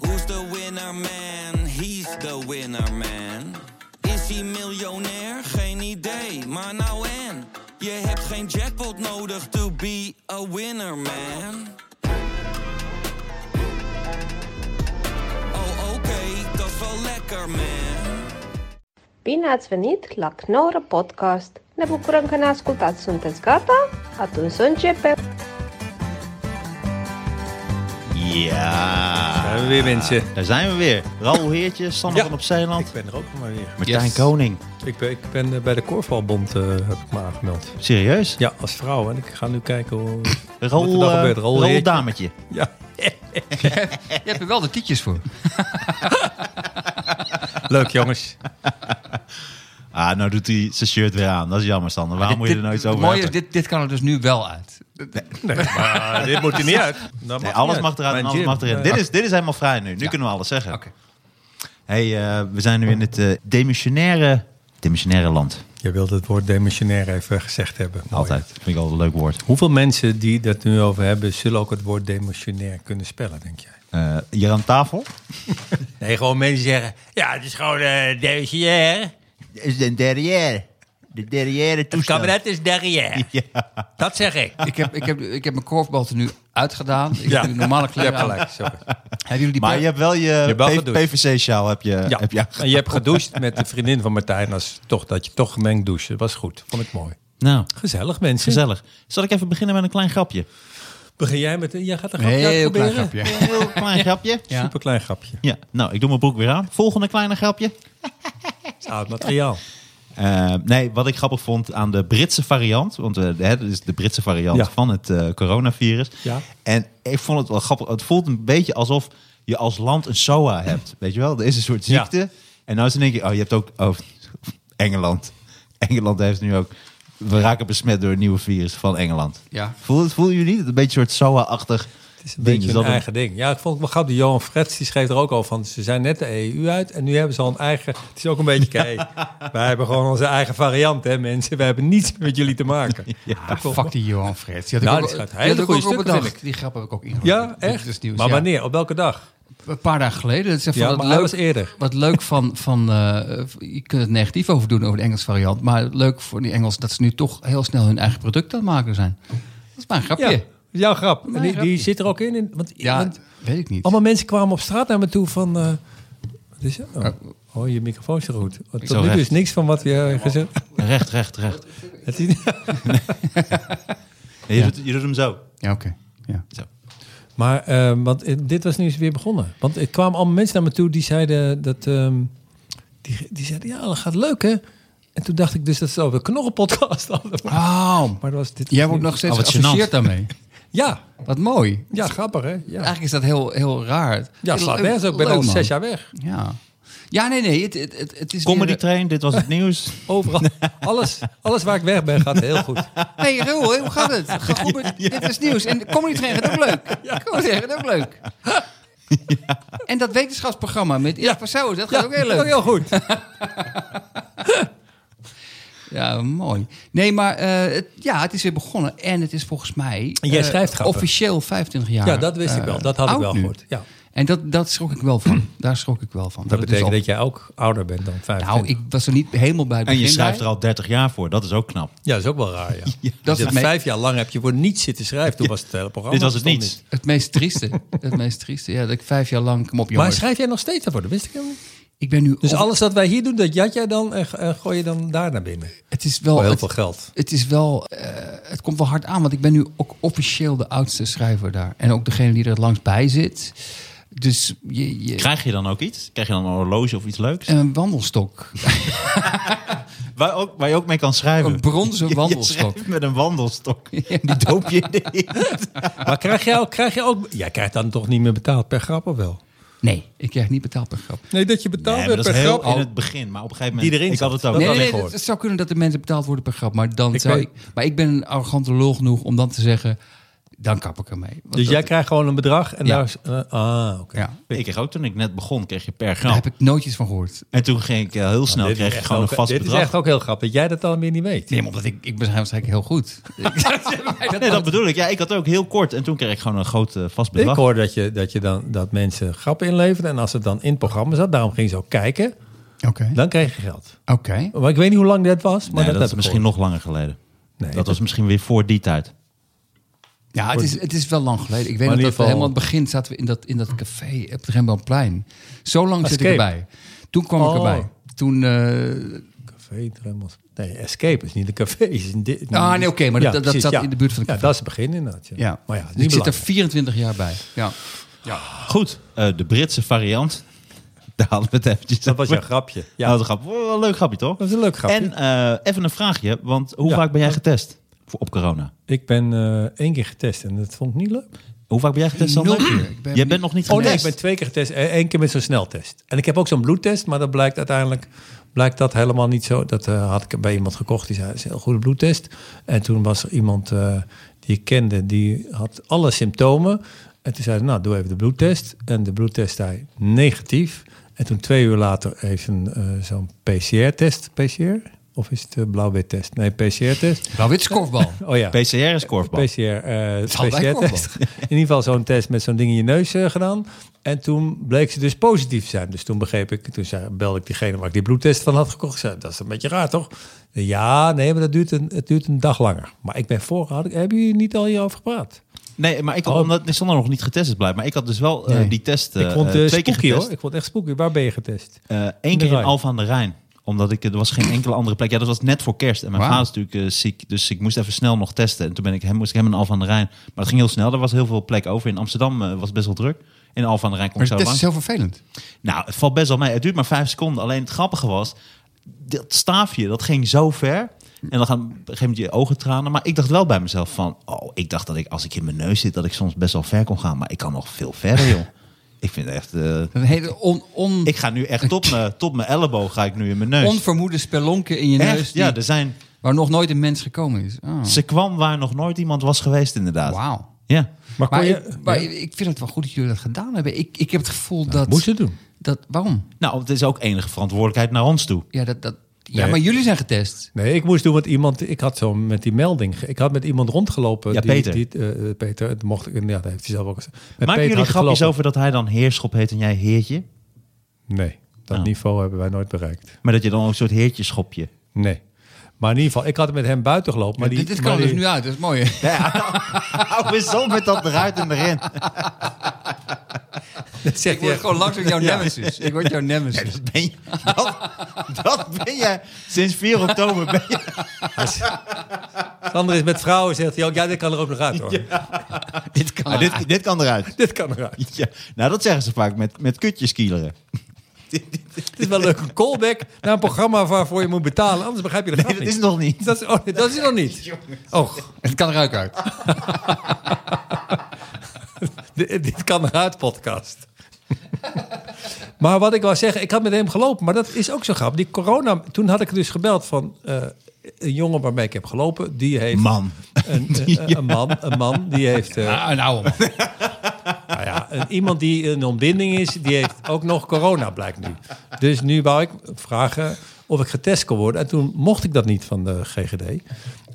Who's the winner man? He's the winner man. Is hij miljonair? Geen idee, maar nou en. Je hebt geen jackpot nodig to be a winner man. Oh oké, dat is wel lekker man. Bine ați venit la Knorr Podcast! Ne bucurăm că ne ascultați! Sunteți gata? Atunci să începem! Ja, Daar hebben we weer mensen. daar zijn we weer. Raoul Heertje, Sander Ja. van op Zeeland, Ik ben er ook maar weer. Martijn Yes. Koning. Ik ben, ik ben eh, bij de Korfbalbond eh, heb ik me aangemeld. Serieus? Ja, als vrouw. En ik ga nu kijken hoe... Raoul, Wat er eh, dan gebeurt, Raoul Raoul Heertje. Dametje. Ja, Je hebt er wel de tietjes voor. leuk jongens. Ah, nou doet hij zijn shirt weer aan. Dat is jammer, Sander. Waarom moet je er Dit- nooit dit- over het mooie hebben? is, dit, dit kan er dus nu wel uit. Nee, maar dit moet er niet uit. Dat mag Nee, niet alles uit. mag eruit en Mijn alles gym. mag erin. Ja. Dit is, dit is helemaal vrij nu. Nu kunnen we alles zeggen. Oké. Hey, eh, we zijn nu in het eh, demissionaire, demissionaire land. Je wilt het woord demissionair even gezegd hebben. Mooi. Altijd. Vind ik altijd een leuk woord. Hoeveel mensen die dat nu over hebben, zullen ook het woord demissionair kunnen spellen, denk jij? Eh, hier aan tafel. Nee, gewoon mensen zeggen, ja, het is gewoon eh demissionair. Is de derrière. De derrière Het kabinet is derrière. Dat zeg ik. Ik heb, ik, heb, ik heb mijn korfbal er nu uitgedaan. Ik Ja. heb nu normale Je hebt kleren aan. gelijk, sorry. Hebben jullie die Maar per- je hebt wel je, hebt wel P- gedoucht. PVC-sjaal heb je, Ja. heb je en je hebt gedoucht met de vriendin van Martijn. Als toch, dat je toch gemengd douchen. Dat was goed. Vond ik mooi. Nou, Gezellig, mensen. gezellig. Zal ik even beginnen met een klein grapje? Begin jij met... Jij gaat een grapje Heel uitproberen? klein grapje. Een heel klein grapje. Ja. Superklein grapje. Ja, nou, ik doe mijn broek weer aan. Volgende kleine grapje. Het is oud materiaal. Eh, nee, wat ik grappig vond aan de Britse variant. Want eh, hè, dat is de Britse variant Ja. van het eh, coronavirus. Ja. En ik vond het wel grappig. Het voelt een beetje alsof je als land een SOA hebt. Weet je wel? Er is een soort Ja. ziekte. En nou is dan denk je, oh, je hebt ook oh, Engeland. Engeland heeft nu ook... We raken besmet door een nieuwe virus van Engeland. Ja. Voel, voelen jullie niet? Het Een beetje een soort SOA-achtig Het is een beetje Dus een dat een- eigen ding. Ja, ik vond het wel grappig. Die Johan Frets die schreef er ook al van. Ze zijn net de EU uit en nu hebben ze al een eigen... Het is ook een beetje... Kijk, wij hebben gewoon onze eigen variant, hè mensen. Wij hebben niets met jullie te maken. Ah, fuck die Johan Frits. Die had Nou, ik ook- die schrijft die had hele ik goede ook op stukken, bedacht. vind ik. Die grap heb ik ook ingegooid. Ja, Dit is dus echt? nieuws, Maar ja. wanneer? Op welke dag? Een paar dagen geleden. Dat is van Ja, het maar leuk, hij was eerder. Wat leuk van... van eh, je kunt het negatief over doen over de Engelse variant. Maar leuk voor die Engels dat ze nu toch heel snel hun eigen product aan het maken zijn. Dat is maar een Ja, grapje. dat Ja, is jouw grap. En Mijn die, die grapje. zit er ook in. in want, want weet ik niet. Allemaal mensen kwamen op straat naar me toe van... eh, wat is het? Oh, oh, je microfoon is er goed. Want Zo Tot nu toe recht. is niks van wat je eh, gezegd Recht, recht, recht. Het is- Je, doet, je doet hem zo. Ja, oké. Ja. Zo. Maar eh, want, eh, dit was nu eens weer begonnen. Want er kwamen allemaal mensen naar me toe die zeiden dat... ehm, die, die zeiden, ja, dat gaat leuk, hè? En toen dacht ik dus dat ze over de knorrenpodcast hadden. Oh, Maar dat was dit... jij wordt nog steeds Oh, wat geassocieerd gênant. daarmee. Ja, Wat mooi. ja, grappig, hè? Ja, Eigenlijk is dat heel, heel raar. ja slaat nergens ook. Ik ben Leuk, al man. zes jaar weg. Ja, ja nee, nee. Het, het, het, het is Comedy weer- train, dit was het nieuws. Overal. Alles, alles waar ik weg ben gaat heel goed. Hey Roel, hoe gaat het? Gaat goed met- Dit is nieuws. En Comedy Train gaat ook leuk. Comedy Train gaat ook leuk. En dat wetenschapsprogramma met Erik Passauers, dat gaat ook heel Ook leuk. heel goed. Ja, mooi. Nee, maar eh, het, ja, het is weer begonnen. En het is volgens mij En jij eh, schrijft grappen. officieel 25 jaar Ja, dat wist ik eh, wel. Dat had ik oud wel nu. gehoord. Ja. En dat, dat schrok ik wel van. Daar schrok ik wel van. Dat het betekent dus dat jij ook ouder bent dan 25. al- Nou, ik was er niet helemaal bij het En je begin schrijft bij. er al 30 jaar voor. Dat is ook knap. Ja, dat is ook wel raar, ja. Dat dat is het me- vijf jaar lang heb je voor niets zitten schrijven. Toen was het hele programma. Dit was het bestond niets. Het meest trieste. Het meest trieste. Ja, dat ik vijf jaar lang... Kom op, Maar jongens. schrijf jij nog steeds daarvoor? Dat wist ik helemaal niet. ik ben nu... Dus op- alles wat wij hier doen, dat jat jij dan en, en gooi je dan daar naar binnen. Het is wel... Voor heel het, veel geld. Het is wel... eh, het komt wel hard aan. Want ik ben nu ook officieel de oudste schrijver daar. En ook degene die er het langst bij zit. Dus je... je Krijg je dan ook iets? Krijg je dan een horloge of iets leuks? een wandelstok. Waar, ook, waar je ook mee kan schrijven. Een bronzen Je wandelstok. schrijft met een wandelstok. Die doop je in de inkt. Maar krijg jij ook... Krijg jij, ook jij krijgt dan toch niet meer betaald per grap of wel? Nee, ik krijg niet betaald per grap. Nee, dat je betaald Nee, maar wordt dat is per heel grap. in het begin. Maar op een gegeven moment... Die erin ik had zat. het ook. Nee, nee, dat nee, gehoord. het zou kunnen dat de mensen betaald worden per grap. Maar, dan Ik zou weet- ik, maar ik ben een arrogante lul genoeg om dan te zeggen... dan kap ik ermee. Want Dus dat- jij krijgt gewoon een bedrag en Ja. daar is... eh, ah, oké. ja, Ik kreeg ook toen ik net begon, kreeg je per daar Nou. gram. heb ik nooitjes van gehoord. En toen ging ik eh, heel snel, Dit is kreeg je echt gewoon ook- een vast Dit bedrag. is echt ook heel grappig. Dat jij dat dan weer niet weet. Nee, maar omdat ik, ik ben waarschijnlijk heel goed. Nee, dat bedoel ik. Ja, ik had ook heel kort. En toen kreeg ik gewoon een groot eh, vast Ik bedrag. hoor dat, je, dat, je dan, dat mensen grappen inleverden. En als het dan in het programma zat, daarom ging ze ook kijken. Oké. Dan kreeg je geld. Oké. Maar ik weet niet hoe lang dat was. Maar Nee, dat, dat, heb is ik misschien gehoord. nog langer geleden. Nee, dat was misschien weer voor die tijd. Ja, het is, het is wel lang geleden. Ik weet Maar nog in ieder dat we geval- helemaal aan het begin zaten we in dat, in dat café op het Rembrandtplein. Zo lang zit ik Escape. erbij. Toen kwam Oh. ik erbij. Toen... eh, Café Dremmels. Nee, Escape is niet een café. Is een di- Ah, nee, oké, maar dat- dat precies, zat in de buurt van het Ja, café. dat is het begin inderdaad. Ja. ja. Maar Oh ja, het is ik niet zit er belangrijk. 24 jaar bij. Ja. Goed, eh, de Britse variant. Daar hadden we het eventjes Dat was over. jouw grapje. Ja. Ja, Nou, dat was een grap. Wel een leuk grapje, toch? dat is een leuk grapje. En eh, even een vraagje. Want hoe Ja. vaak ben jij getest voor, op corona? ik ben eh, één keer getest en dat vond ik niet leuk. Hoe vaak ben jij getest, Sander? Nul keer. Ik ben jij niet- bent nog niet Oh getest. nee, ik ben twee keer getest. Eh, Eén keer met zo'n sneltest. En ik heb ook zo'n bloedtest, maar dat blijkt uiteindelijk blijkt dat helemaal niet zo. Dat eh, had ik bij iemand gekocht, die zei, het is een heel goede bloedtest. En toen was er iemand eh, die ik kende, die had alle symptomen. En toen zei ze, nou, doe even de bloedtest. En de bloedtest zei negatief. En toen twee uur later heeft een eh, zo'n PCR-test. PCR? Of is het eh, blauw-wit-test? Nee, PCR-test. Nou, wit is korfbal. Oh ja. PCR is korfbal. PCR, eh, zal bij PCR-test. In ieder geval zo'n test met zo'n ding in je neus eh, gedaan. En toen bleek ze dus positief te zijn. Dus toen begreep ik, toen zei, belde ik diegene waar ik die bloedtest van had gekocht. Ik zei, dat is een beetje raar, toch? Ja, nee, maar dat duurt een, het duurt een dag langer. Maar ik ben voorgehouden. Hebben jullie niet al hierover gepraat? Nee, maar ik had, omdat Sander nog niet getest is blijkbaar. Maar ik had dus wel eh, Nee. die test eh Oh. ik vond eh, het twee keer spooky, getest. hoor. Ik vond het echt spooky. Waar ben je getest? Eh, In Eén de keer in Rijn. Alphen aan de Rijn. Omdat ik, er was geen enkele andere plek. Ja, dat was net voor kerst. En mijn Wauw. vader is natuurlijk eh, ziek. Dus ik moest even snel nog testen. En toen ben ik hem, moest ik hem in Alphen aan de Rijn. Maar dat ging heel snel. Er was heel veel plek over. In Amsterdam eh, was het best wel druk. In Alphen aan de Rijn kon Maar ik de zo test lang. is heel vervelend. Nou, het valt best wel mee. Het duurt maar vijf seconden. Alleen het grappige was, dat staafje, dat ging zo ver. En dan gaan op een gegeven moment je ogen tranen. Maar ik dacht wel bij mezelf van, oh, ik dacht dat ik als ik in mijn neus zit, dat ik soms best wel ver kon gaan. Maar ik kan nog veel verder, joh. ik vind echt, eh, Een hele on, on, ik ga nu echt tot mijn, tot mijn elleboog ga ik nu in mijn neus. onvermoede spelonken in je Echt? neus. die- Ja, dus- er zijn, Waar nog nooit een mens gekomen is. Oh. ze kwam waar nog nooit iemand was geweest, inderdaad. Wauw. Ja. Maar, kon Maar, je, ik, maar ik vind het wel goed dat jullie dat gedaan hebben. Ik, ik heb het gevoel dat... moest je doen. dat waarom? Nou, het is ook enige verantwoordelijkheid naar ons toe. Ja, dat, dat, ja Nee. maar jullie zijn getest. Nee, ik moest doen wat iemand. Ik had zo met die melding. ge- Ik had met iemand rondgelopen. Ja, die, Peter. Die, eh, eh, Peter, dat mocht ik. Ja, dat heeft hij zelf ook gezegd. Met Maken Peter jullie had ik grapjes gelopen. over dat hij dan heerschop heet en jij heertje? Nee, dat Oh. niveau hebben wij nooit bereikt. Maar dat je dan ook een soort heertje schopje. Nee. Maar in ieder geval, ik had met hem buiten gelopen. Maar die, dit, dit maar kan er die- dus nu uit, dat is mooi. hè? Hou eens op met dat eruit en erin. dat zegt Ik word hij echt. gewoon langzaam jouw nemesis. Ik word jouw nemesis. Dat ben, je, dat, dat ben jij sinds 4 oktober. Ben je, Sander is met vrouwen, zegt hij ook. Ja, dit kan er ook nog uit hoor. Dit kan Ah, dit, dit kan eruit. Dit kan eruit. Ja, nou, dat zeggen ze vaak met, met kutjeskieleren. Het is wel een leuke callback naar een programma waarvoor je moet betalen. Anders begrijp je de grap Dat is niet. nog niet. Dat is, oh, dat is het nog niet. Oh, Het kan eruit uit. Dit, dit kan eruit, podcast. maar wat ik wou zeggen, ik had met hem gelopen, maar dat is ook zo grappig. Die corona, toen had ik dus gebeld van eh, een jongen waarmee ik heb gelopen, die heeft Man. een, eh, eh, een man, een man, die heeft eh, Ah, een oude man. nou ja, een- iemand die in ontbinding is, die heeft ook nog corona, blijkt nu. Dus nu wou ik vragen of ik getest kon worden. En toen mocht ik dat niet van de GGD.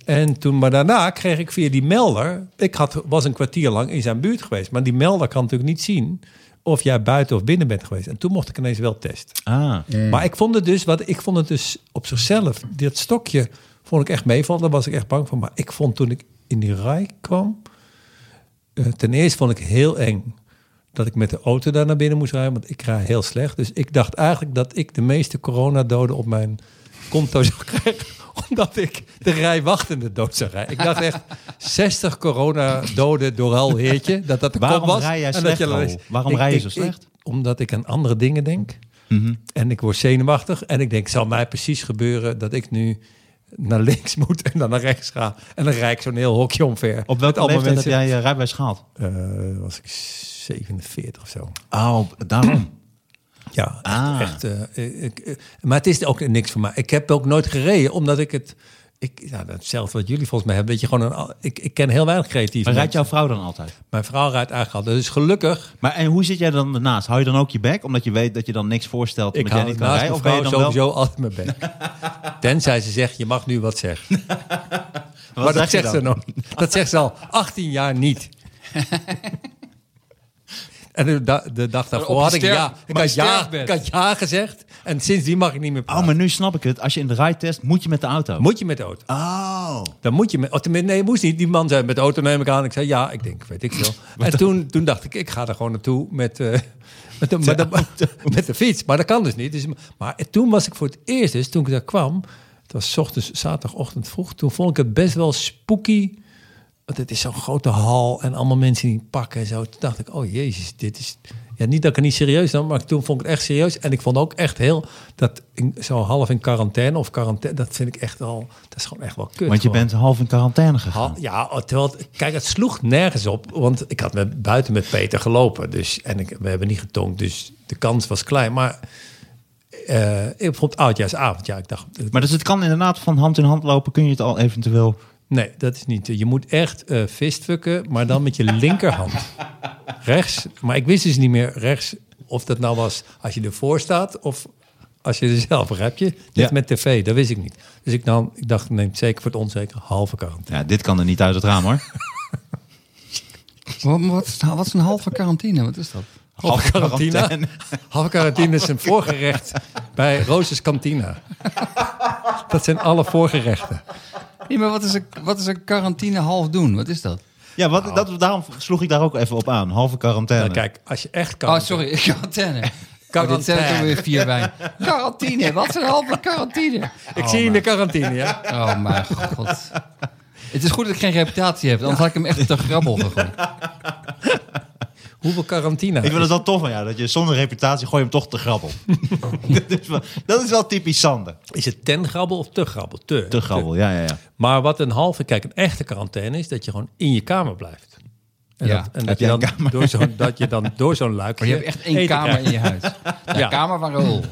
En toen, maar daarna kreeg ik via die melder... Ik had, was een kwartier lang in zijn buurt geweest. Maar die melder kan natuurlijk niet zien of jij buiten of binnen bent geweest. En toen mocht ik ineens wel testen. Ah, Maar ik vond het dus, wat ik vond het dus op zichzelf, dit stokje vond ik echt meevallen. Daar was ik echt bang voor. Maar ik vond toen ik in die rij kwam, eh, ten eerste vond ik heel eng dat ik met de auto daar naar binnen moest rijden, want ik rij heel slecht. Dus ik dacht eigenlijk dat ik de meeste coronadoden op mijn konto zou krijgen, omdat ik de rij wachtende dood zou rijden. Ik dacht echt 60 coronadoden door al heertje, dat dat de Waarom kop was. rij jij en dat slecht, je dan Raoul? eens- Waarom rij je zo slecht? omdat ik aan andere dingen denk. Mhm. En ik word zenuwachtig. En ik denk, zal mij precies gebeuren dat ik nu naar links moet en dan naar rechts ga. En dan rijd ik zo'n heel hokje omver. op welke allemaal leeftijd heb jij je rijbewijs gehaald? Eh, was ik 47 of zo. Oh, daarom. Ja, echt. eh, Ah. echt, eh, ik- ik- maar het is ook niks voor mij. Ik heb ook nooit gereden, omdat ik het... Ik, nou, hetzelfde wat jullie volgens mij hebben. Dat je gewoon een, al- ik, ik ken heel weinig creatief. Maar rijdt jouw vrouw dan altijd? Mijn vrouw rijdt aangehaald. Dus gelukkig. Maar en hoe zit jij dan ernaast? Hou je dan ook je bek, omdat je weet dat je dan niks voorstelt Ik omdat jij hou niet naast kan rijden? mijn Of ben je dan vrouw sowieso wel... altijd mijn bek. Tenzij ze zegt, je mag nu wat zeggen. Wat maar dat zeg je zegt ze dan? nog niet. Dat zegt ze al 18 jaar niet. En de, da- de dag daarvoor je had ik sterf- ja, ik maar had je ja, sterfbed. ik had ja gezegd. En sindsdien mag ik niet meer praten. Oh, maar nu snap ik het. Als je in de rijtest, moet je met de auto. Moet je met de auto? Oh. Dan moet je met, oh, tenminste, nee, moest niet. Die man zei met de auto neem ik aan. Ik zei ja, ik denk, weet ik veel. en toen, toen dacht ik, ik ga er gewoon naartoe met, eh, met, de, met, de, met de fiets. Maar dat kan dus niet. Dus, maar toen was ik voor het eerst, dus toen ik daar kwam, het was 's ochtends, zaterdagochtend vroeg, toen vond ik het best wel spooky. Want het is zo'n grote hal en allemaal mensen die pakken en zo. Toen dacht ik, oh jezus, dit is... Ja, niet dat ik het niet serieus nam, maar toen vond ik het echt serieus. En ik vond ook echt heel... Dat in- zo half in quarantaine of quarantaine, dat vind ik echt al... Dat is gewoon echt wel kut. Want je gewoon. bent half in quarantaine gegaan. Ha- ja, terwijl het- kijk, het sloeg nergens op, want ik had met, buiten met Peter gelopen, dus en ik, we hebben niet getonkt, dus de kans was klein. Maar eh, ik vond oudjaarsavond, ja, ik dacht, eh, Maar dus het kan inderdaad van hand in hand lopen, kun je het al eventueel... nee, dat is niet. Je moet echt eh fistfucken, maar dan met je linkerhand. rechts, maar ik wist dus niet meer rechts of dat nou was als je ervoor staat of als je er zelf heb je. Net Ja. met tv, dat wist ik niet. Dus ik, nam, ik dacht, neem het zeker voor het onzeker halve kant. Ja, dit kan er niet uit het raam hoor. Wat, wat, is, nou- wat is een halve quarantine? Wat is dat? Halve quarantine. quarantaine. Halve quarantine is een voorgerecht bij Roos's Cantina. Dat zijn alle voorgerechten. Nee, maar wat is een, wat is een quarantine half doen? Wat is dat? Oh, Ja, wat, dat, daarom sloeg ik daar ook even op aan. Halve quarantaine. Nou, kijk, als je echt kan. Oh, sorry, quarantaine. Oh, dit zijn er toch weer vier wijn. Quarantine, wat is een halve quarantine? Ik zie je in de quarantine, ja. Oh mijn god. Het is goed dat ik geen reputatie heb, anders had ik hem echt op de grabbel gegooid. Hoeveel quarantine? Ik vind het wel tof van jou, dat je zonder reputatie gooi je hem toch te grabbel. dat, is wel, dat is wel typisch Sander. Is het ten grabbel of te grabbel? Te. Te grabbel, ja, ja, ja. Maar wat een halve, kijk, een echte quarantaine is dat je gewoon in je kamer blijft. En Ja. dat, en Heb dat, je jij een dan kamer? door zo'n, dat je dan door zo'n luikje. Maar je hebt echt één eten kamer krijgt. in je huis. De Ja. kamer van Raoul. De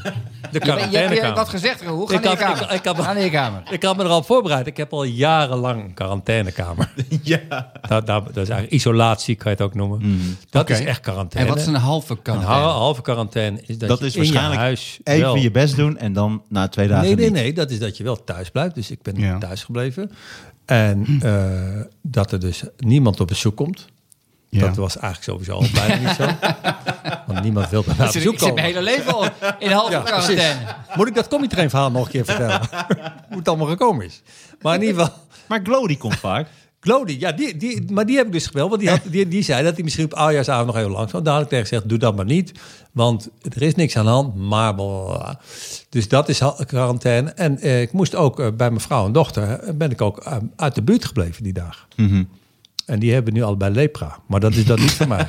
Je, je, je hebt weer quarantainekamer. wat gezegd, Raoul. Ga Ik naar je had- kamer. ik- ik had- Ga naar je kamer. Ik had me er al op voorbereid. Ik heb al jarenlang een quarantainekamer. ja. Dat, Nou, dat, dat is eigenlijk isolatie, kan je het ook noemen. Mhm. Dat Oké. is echt quarantaine. En wat is een halve Een quarantaine? hal- halve quarantaine is dat, Dat je is in je waarschijnlijk huis even wel- je best doen en dan na twee dagen Nee, nee, niet. nee. Dat is dat je wel thuis blijft. Dus ik ben Ja. thuis gebleven. En Hm. eh, dat er dus niemand op bezoek komt. Dat was eigenlijk sowieso al bijna niet zo. Want niemand wil bij mij op Ik zit, bezoek ik zit mijn komen. hele leven al in halve Ja, precies. quarantaine. Moet ik dat Comedy Train verhaal nog een keer vertellen? Hoe het allemaal gekomen is. Maar in ieder geval... Maar Glow die komt vaak. Glody, ja, die, die, maar die heb ik dus gebeld. Want die, had, die, die zei dat hij misschien op oudjaarsavond nog heel lang zou. Daar had ik tegen gezegd, doe dat maar niet. Want er is niks aan de hand, maar blablabla. Dus dat is ha- quarantaine. En eh, ik moest ook eh, bij mijn vrouw en dochter... eh, ben ik ook eh, uit de buurt gebleven die dag. Mhm. En die hebben nu allebei lepra. Maar dat is dat niet voor mij.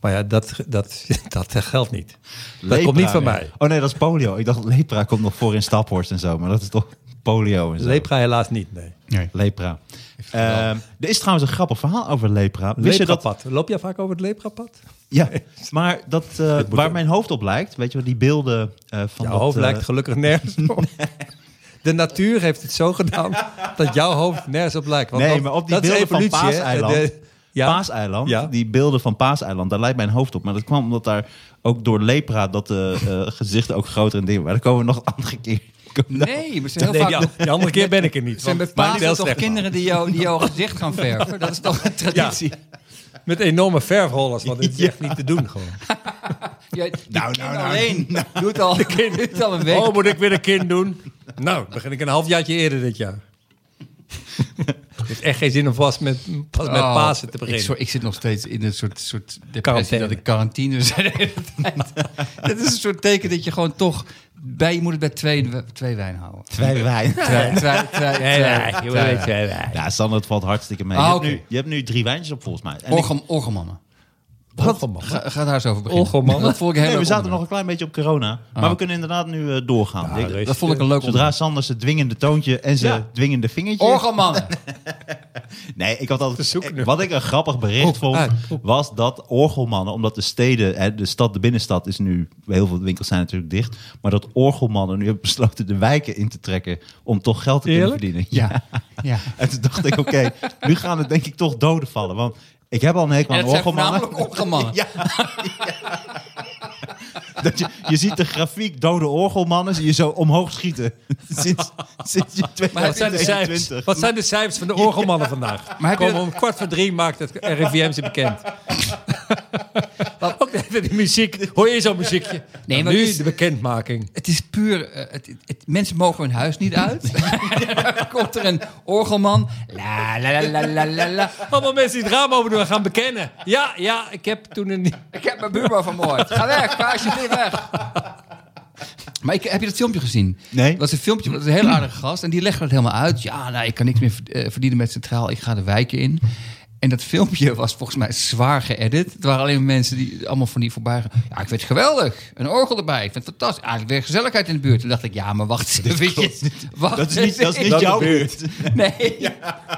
Maar ja, dat, dat, dat geldt niet. dat Lepra komt niet van weer. mij. Oh nee, dat is polio. Ik dacht lepra komt nog voor in Staphorst en zo, maar dat is toch polio en zo. Lepra helaas niet, nee. Lepra. Eh, er is trouwens een grappig verhaal over lepra. Wist je dat? Leprapad. Loop jij vaak over het leprapad? Ja, maar dat, eh, moet waar ook. mijn hoofd op lijkt, weet je wel, die beelden eh, van Jouw dat, hoofd eh, lijkt gelukkig nergens op. De natuur heeft het zo gedaan dat jouw hoofd nergens op lijkt. Want Nee, dat- maar op die dat is beelden van evolutie, hè? Paaseiland. De- ja. Paaseiland, Ja. die beelden van Paaseiland, daar lijkt mijn hoofd op. Maar dat kwam omdat daar ook door lepra dat de eh, gezichten ook groter en dingen waren. Daar komen we nog een andere keer. komen we daar- Nee, maar ze zijn heel Nee, vaak... die, an- die andere keer ben ik er niet. Er zijn bij want- maar die Pasen wel toch slecht kinderen die jou- die jouw gezicht gaan verven? Dat is toch een traditie? waren. Met enorme verfhollers, want het is echt niet te doen gewoon. Ja, nou, nou, alleen. Doe het al, doe het al een week. Oh, moet ik weer een kind doen? Nou, begin ik een halfjaartje eerder dit jaar. Het heeft echt geen zin om vast met, pas met Oh, Pasen te Ik, beginnen. zo- ik zit nog steeds in een soort, soort depressie Quarantaine. dat ik quarantine zit de hele tijd. Het is een soort teken dat je gewoon toch... Bij, je moet het bij twee, twee wijn houden. Twee wijn. Twee, twee, twee, Nee, twee- nee, twee je weet, wijn. jij weet. Ja, Sander, het valt hartstikke mee. Ah, je, hebt oké. nu, je hebt nu drie wijntjes op volgens mij. En ik- Orgem- Orgelmannen. Wat voor man? Ga, ga daar eens over beginnen. Orgelmannen? Dat vond ik heel nee, we leuk zaten nog onderwerp. een klein beetje op corona. Ah. Maar we kunnen inderdaad nu eh, doorgaan. Ik- rustig. Dat vond ik een leuk Zodra Sander zijn dwingende toontje en zijn Ja. dwingende vingertje... onderwerp. Orgelmannen. Nee, ik had Te altijd. zoeken. Wat ik een grappig bericht Oh, Hoek, vond, uit, was dat orgelmannen, omdat de steden, hè, de stad, de binnenstad is nu, heel veel winkels zijn natuurlijk dicht, maar dat orgelmannen nu hebben besloten de wijken in te trekken om toch geld te Eerlijk? kunnen verdienen. Ja. ja. En toen dacht ik, oké, nu gaan het denk ik toch doden vallen, want ik heb al een hekel En aan dat zijn orgelmannen. voornamelijk orgelmannen. Ja. Dat je, je ziet de grafiek dode orgelmannen, zie je zo omhoog schieten. Sinds, sinds je Wat zijn, de cijfers, 2021. wat zijn de cijfers van de orgelmannen vandaag? Maar heb je Komen dat- om kwart voor drie maakt het RIVM ze bekend. Ook even die muziek. Hoor je zo'n muziekje? Nee, En maar dus- nu het is- de bekendmaking. Het is puur... eh, het, het- het- mensen mogen hun huis niet uit. Dan komt er een orgelman. La, la, la, la, la, la, la. Allemaal mensen die het raam open doen gaan bekennen. Ja, ja, ik heb toen een... Ik heb mijn buurman vermoord. Ga weg, ga alsjeblieft weg. Maar ik, heb je dat filmpje gezien? Nee. Dat was een filmpje, dat is een heel aardige gast. En die legde dat helemaal uit. Ja, nou, ik kan niks meer verd- eh, verdienen met Centraal. Ik ga de wijken in. En dat filmpje was volgens mij zwaar geëdit. Het waren alleen maar mensen die allemaal van die voorbij... gaan. Ja, ik vind het geweldig. Een orgel erbij. Ik vind het fantastisch. Eigenlijk weer gezelligheid in de buurt. Toen dacht ik, ja, maar wacht even. Wacht Dat is niet, dat is niet even. jouw buurt. Nee,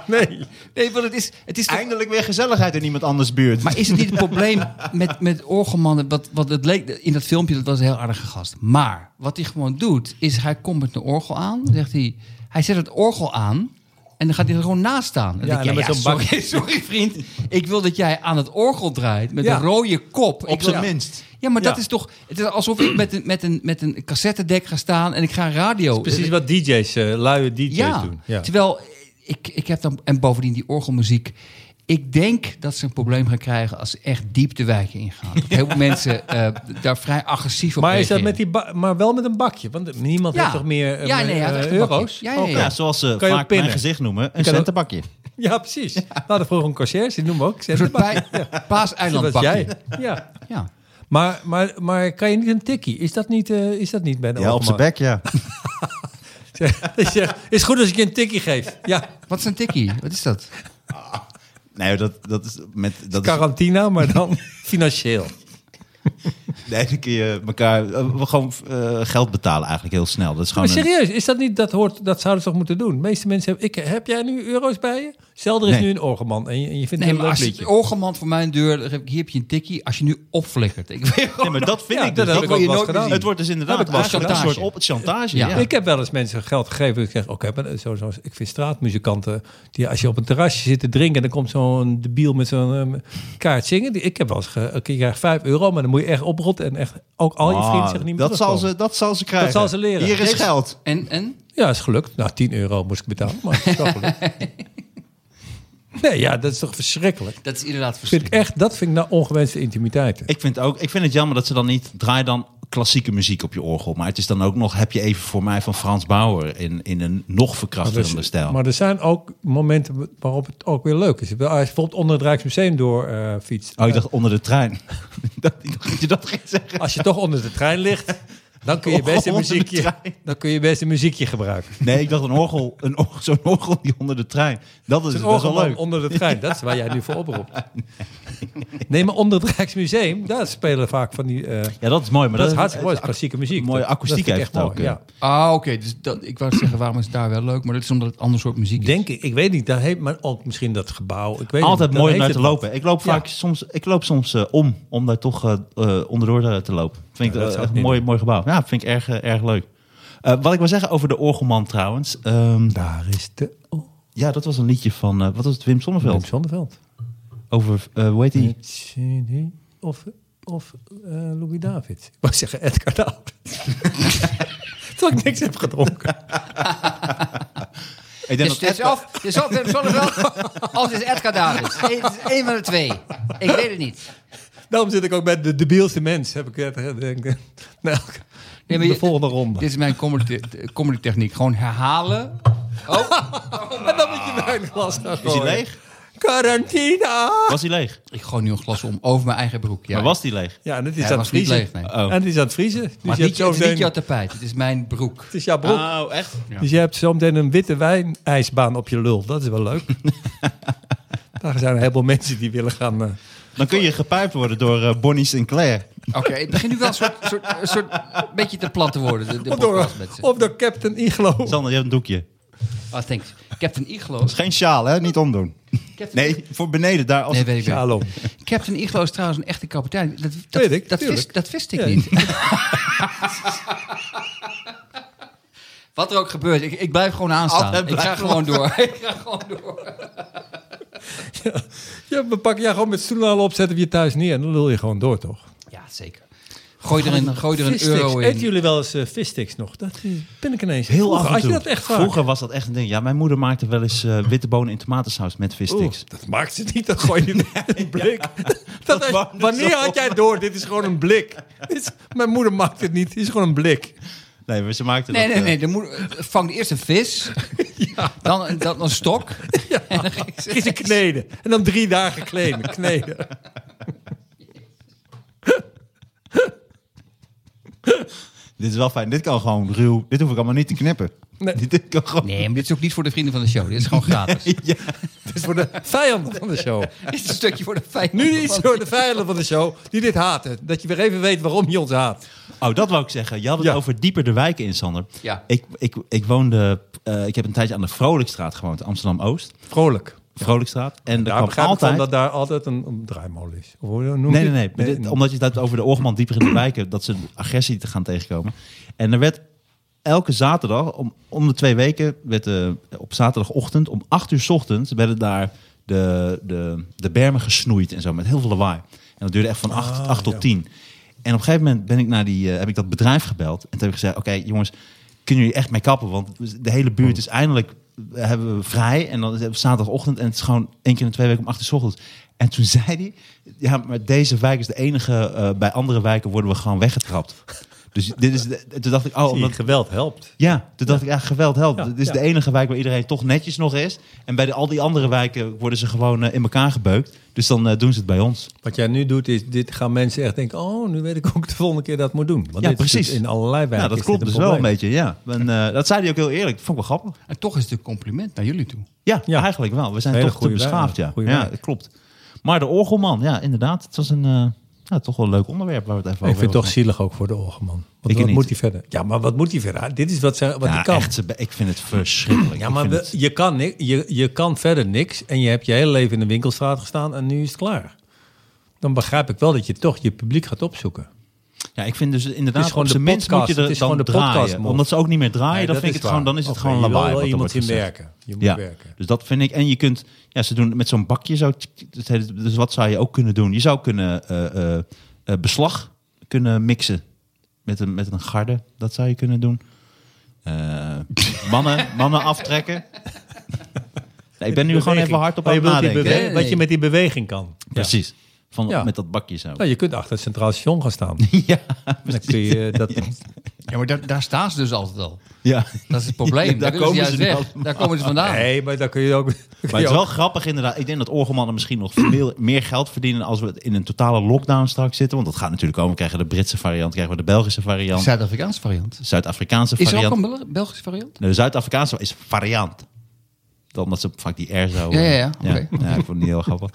Nee. nee want het is, het is toch Eindelijk weer gezelligheid in iemand anders buurt. maar is het niet het probleem met, met orgelmannen? Wat, wat het leek in dat filmpje, dat was een heel aardige gast. Maar wat hij gewoon doet, is hij komt met een orgel aan. dan Zegt hij, hij zet het orgel aan en dan gaat hij er gewoon naast staan. Dan Ja, denk en dan ik, ja, met ja, zo'n bak. sorry, sorry vriend, ik wil dat jij aan het orgel draait met Ja. een rode kop. Ik op wil- zijn minst. Ja, maar dat Ja. is toch... Het is alsof ik met een, met een, met een cassettedek ga staan en ik ga radio... Precies wat DJ's, eh luie DJ's Ja, doen. Ja. terwijl ik, ik heb dan, en bovendien die orgelmuziek. Ik denk dat ze een probleem gaan krijgen als ze echt diep de wijken ingaan. Dat heel veel mensen eh, daar vrij agressief op Maar, is dat reageren. met die ba- maar wel met een bakje, want niemand Ja. heeft toch meer eh, Ja, nee, hij had eh, echt een bakje. euro's? Ja, ja, ja. Oké. Dus, Ja, zoals ze Kan je ook vaak mijn pinnen. gezicht noemen, een kan ook- centenbakje. Ja, precies. We hadden vroeger een conciërge, die noemen we ook. Een soort bij, Dat was paaseilandbakje. jij. Ja. Ja. Maar, maar, maar kan je niet een tikkie? Is dat niet, eh, is dat niet bij de Ja, op zijn overman? bek, ja. Hij zegt, is goed als ik je een tikkie geef. Ja, Wat is een tikkie? Wat is dat? Nee, dat, dat is met... Dat is, Quarantina, maar dan financieel. nee, dan kun je elkaar eh, we gewoon eh, geld betalen eigenlijk heel snel. Dat is Maar gewoon een- serieus, is dat niet, dat, hoort, dat zouden ze toch moeten doen? De meeste mensen hebben, ik, heb jij nu euro's bij je? Stel, er is Nee. nu een orgelman en je, en je vindt Nee, een maar leuk als oh, liedje. je orgelman voor mijn deur... dan heb ik- Hier heb je een tikkie. Als je nu opflikkert. Ik weet Nee, maar dat vind Ja, ik dat dus. heb ik wil ook je wel nooit gedaan. zien. Het wordt dus inderdaad Heb ik wel eigenlijk een soort chantage. op chantage. Ja. Ja. Ik heb wel eens mensen geld gegeven. Ik zeg, oké, maar zo, zo, ik vind straatmuzikanten... Die, als je op een terrasje zit te drinken... en dan komt zo'n debiel met zo'n ehm, kaart zingen. Die, ik heb wel eens... Ge, oké, je krijgt 5 euro, maar dan moet je echt oprotten... en echt ook al je vrienden Ah, zeggen niet meer dat, zal terugkomen. ze, dat zal ze krijgen. zal ze leren. Hier is Deze- geld. En, en? Ja, is gelukt. Nou, 10 euro moest ik betalen, maar het is wel gelukt. Nee, ja, dat is toch verschrikkelijk. Dat is inderdaad Vind ik verschrikkelijk. echt, dat vind ik nou ongewenste intimiteiten. Ik vind, ook, ik vind het jammer dat ze dan niet... Draai dan klassieke muziek op je orgel. Maar het is dan ook nog... Heb je even voor mij van Frans Bauer... in, in een nog verkrachterende Dus- stijl. Maar er zijn ook momenten waarop het ook weer leuk is. Ik bedoel, Als je bijvoorbeeld onder het Rijksmuseum door eh, fietst. Oh, ik dacht onder de trein. dat, ik dacht dat je dat ging zeggen. Als je toch onder de trein ligt, dan kun je best een Onder de muziekje, trein. dan kun je best een muziekje gebruiken. Nee, ik dacht een orgel, een orgel, zo'n orgel die onder de trein. Dat is, Een best wel orgelman leuk. onder de trein, dat is waar jij nu voor oproept. Nee, maar onder het Rijksmuseum, daar spelen vaak van die... eh, Ja, dat is mooi. Maar dat is dat hartstikke mooi, dat is klassieke muziek. mooie Dat- akoestiek dat vind ik heeft echt het ook, mooi, hè. ja. Ah, oké. dus dat, ik wou zeggen, waarom is het daar wel leuk? Maar dat is omdat het een ander soort muziek is. Denk ik, ik weet niet, daar heeft, maar ook misschien dat gebouw. Ik weet Altijd niet, daar mooi om heeft naar te het lopen. Ik loop Ja. vaak soms, ik loop soms eh, om, om daar toch eh, eh, onderdoor eh, te lopen. Vind Ja, ik eh, dat zou ik echt een niet mooi, mooi gebouw. Ja, vind ik erg, eh, erg leuk. Eh, wat ik wil zeggen over de orgelman trouwens. ehm, wat. Daar is de... Oh, ja, dat was een liedje van, eh, wat was het, Wim Sonneveld? Wim Sonneveld. Over, eh, hoe heet die? Met CD Of, of eh, Louis David. Ik wou zeggen Edgar David. Terwijl ik niks heb gedronken. Ik Het denk dat is, Dus het is Edgar- of, het is of Wim Sonneveld, of het is Edgar Davids. Het is één van de twee. Ik weet het niet. Daarom zit ik ook bij de debielste mens. Heb ik net gedacht. Nou, Nee, maar de je- volgende ronde. Dit is mijn comedy, comedy techniek. Gewoon herhalen. en dan moet je wijnglas gaan Is hij gooien. leeg? Quarantina! Was hij leeg? Ik gooi nu een glas om over mijn eigen broek. Ja. Maar was hij leeg? Ja, en het is Ja, aan het was niet vriezen. leeg, nee. Oh. En het is aan het vriezen. Dus maar je het, hebt niet, het zo is niet meteen... jouw tapijt. Het is mijn broek. Het is jouw broek. Oh, echt? Dus je hebt zo meteen een witte wijnijsbaan op je lul. Dat is wel leuk. Daar zijn een heleboel mensen die willen gaan... eh, Dan kun je gepijpt worden door eh, Bonnie Sinclair. Oké, het begint nu wel een soort, soort, een soort beetje te plat te worden. De, de of, door, podcast met ze. of door Captain Iglo. Sander, je hebt een doekje. Oké, Oh, thanks. Captain Iglo. Dat is geen sjaal, hè? Niet omdoen. Captain Nee, voor beneden daar. Als Nee, weet ik wel. Shalom. Captain Iglo is trouwens een echte kapitein. Dat, dat, Weet ik, dat, wist, tuurlijk. dat wist ik Ja. niet. Wat er ook gebeurt, ik, ik blijf gewoon aanstaan. Altijd ik ga blijven gewoon door. ik ga gewoon door. Ja, we pakken jou gewoon met stoelen opzetten we je thuis neer. En dan lul je gewoon door, toch? Ja, zeker. Gooi er een, gooi er een Vissticks. euro Eten in. jullie wel eens eh vissticks nog? Dat eh, ben ik ineens. Heel Vroeger af en had je toe. dat echt vaak? Vroeger was dat echt een ding. Ja, mijn moeder maakte wel eens eh, witte bonen in tomatensaus met vissticks. Oeh, dat maakt ze niet, dat gooi je in een blik. Dat is- maakt het wanneer zo. had jij door? Dit is gewoon een blik. Dit is- mijn moeder maakt het niet, dit is gewoon een blik. Nee, maar ze maakte Nee, dat... nee, eh, nee. Dan moet, vang eerst een vis, dan, een- dan een stok. En dan ging ze- Het is een kneden. En dan drie dagen claimen, kneden. Dit is wel fijn. Dit kan gewoon ruw. Dit hoef ik allemaal niet te knippen. Nee. Dit, dit kan gewoon. Nee, maar dit is ook niet voor de vrienden van de show. Dit is gewoon gratis. Het is voor de vijanden van de show. Dit is een stukje voor de fijn. Nu iets voor de vijanden van de show die dit haten. Dat je weer even weet waarom je ons haat. Oh, dat wou ik zeggen. Je had het Ja. over dieper de wijken in, Sander. Ja. Ik, ik, ik woonde... eh, ik heb een tijdje aan de Vrolijkstraat gewoond, Amsterdam-Oost. Vrolijk. Vrolijkstraat. En daar Daar kwam begrijp ik altijd... van dat daar altijd een, een draaimolen is. Of hoe noem je Nee, nee, het? nee. Dit- Omdat je het hebt over de Orgeman dieper in de wijken, dat ze agressie te gaan tegenkomen. En er werd elke zaterdag, om, om de twee weken, werd, eh, op zaterdagochtend om 8 uur 's ochtends, werden daar de, de, de bermen gesnoeid en zo, met heel veel lawaai. En dat duurde echt van 8, Ah, ja. tot 10. En op een gegeven moment ben ik naar die, eh, heb ik dat bedrijf gebeld. En toen heb ik gezegd, oké jongens, kunnen jullie echt mee kappen? Want de hele buurt is eindelijk, eh, hebben we vrij. En dan is het op zaterdagochtend en het is gewoon één keer in de twee weken om acht uur 's ochtends. En toen zei hij, ja maar deze wijk is de enige, eh, bij andere wijken worden we gewoon weggetrapt. Dus dit is de- toen dacht ik, oh, omdat, geweld helpt. ja, toen dacht ik, ja, geweld helpt. Ja, Dit is ja. de enige wijk waar iedereen toch netjes nog is. En bij de, al die andere wijken worden ze gewoon eh, in elkaar gebeukt. Dus dan eh, doen ze het bij ons. Wat jij nu doet is, dit gaan mensen echt denken... oh, nu weet ik ook de volgende keer dat ik moet doen. Want Ja, dit is precies. natuurlijk In allerlei wijken nou, dat is klopt dit dus een wel een probleem. beetje, ja. En, eh, dat zei hij ook heel eerlijk. Dat vond ik wel grappig. En toch is het een compliment naar jullie toe. Ja, Ja. eigenlijk wel. We zijn Hele toch te goede beschaafd, wijk, ja. goede ja, wijk. dat klopt. Maar de orgelman, ja, inderdaad. Het was een, eh, ja, toch wel een leuk onderwerp waar we het even Ik over vind het toch hebben. zielig ook voor de Orgeman. Want Ik wat niet. moet hij verder? Ja, maar wat moet hij verder? Dit is wat, ze, wat hij Ja, kan. echt, ze be- ik vind het verschrikkelijk. Ja, Ik maar vind we- het- je, kan ni- je, je kan verder niks. En je hebt je hele leven in de winkelstraat gestaan en nu is het klaar. Dan begrijp ik wel dat je toch je publiek gaat opzoeken. Ja, ik vind dus Het inderdaad is gewoon op de zijn minst moet podcast. je er Het is dan gewoon de draaien. podcastmod. Omdat ze ook niet meer draaien, Nee, dan, dat vind is ik het gewoon, waar. dan is het Oké, gewoon je wil lawaai. wel wat er iemand wordt zien gezegd. werken. Je moet ja, werken. dus dat vind ik. En je kunt, ja, ze doen het met zo'n bakje zo. tsk, tsk, het hele- Dus wat zou je ook kunnen doen? Je zou kunnen eh, eh, eh, beslag kunnen mixen met een, met een garde. Dat zou je kunnen doen. Eh, mannen, mannen aftrekken. Nee, ik ben nu gewoon Beweging. even hard op Maar aan je het wilt die nadenken. bewe- Nee, Wat nee. je met die beweging kan. Ja. Precies. Van, Ja. Met dat bakje zo. Nou, je kunt achter het Centraal Station gaan staan. Ja, Dan kun je dat... Ja, maar daar, daar staan ze dus altijd al. ja. Dat is het probleem. Ja, daar komen ze juist nu weg. allemaal. Daar komen ze vandaan. Nee, Nou. maar dan kun je ook... Maar het is wel grappig inderdaad. Ik denk dat orgelmannen misschien nog veel meer geld verdienen als we in een totale lockdown straks zitten. Want dat gaat natuurlijk komen. We krijgen de Britse variant, krijgen we de Belgische De variant, Zuid-Afrikaanse variant. de Zuid-Afrikaanse Is er ook variant. een Bel- Belgische variant? Nee, De Zuid-Afrikaanse is variant. Dan Omdat ze vaak die R zo... eh, Ja, ja, ja. ja, Oké. ja, ik vond het niet heel grappig.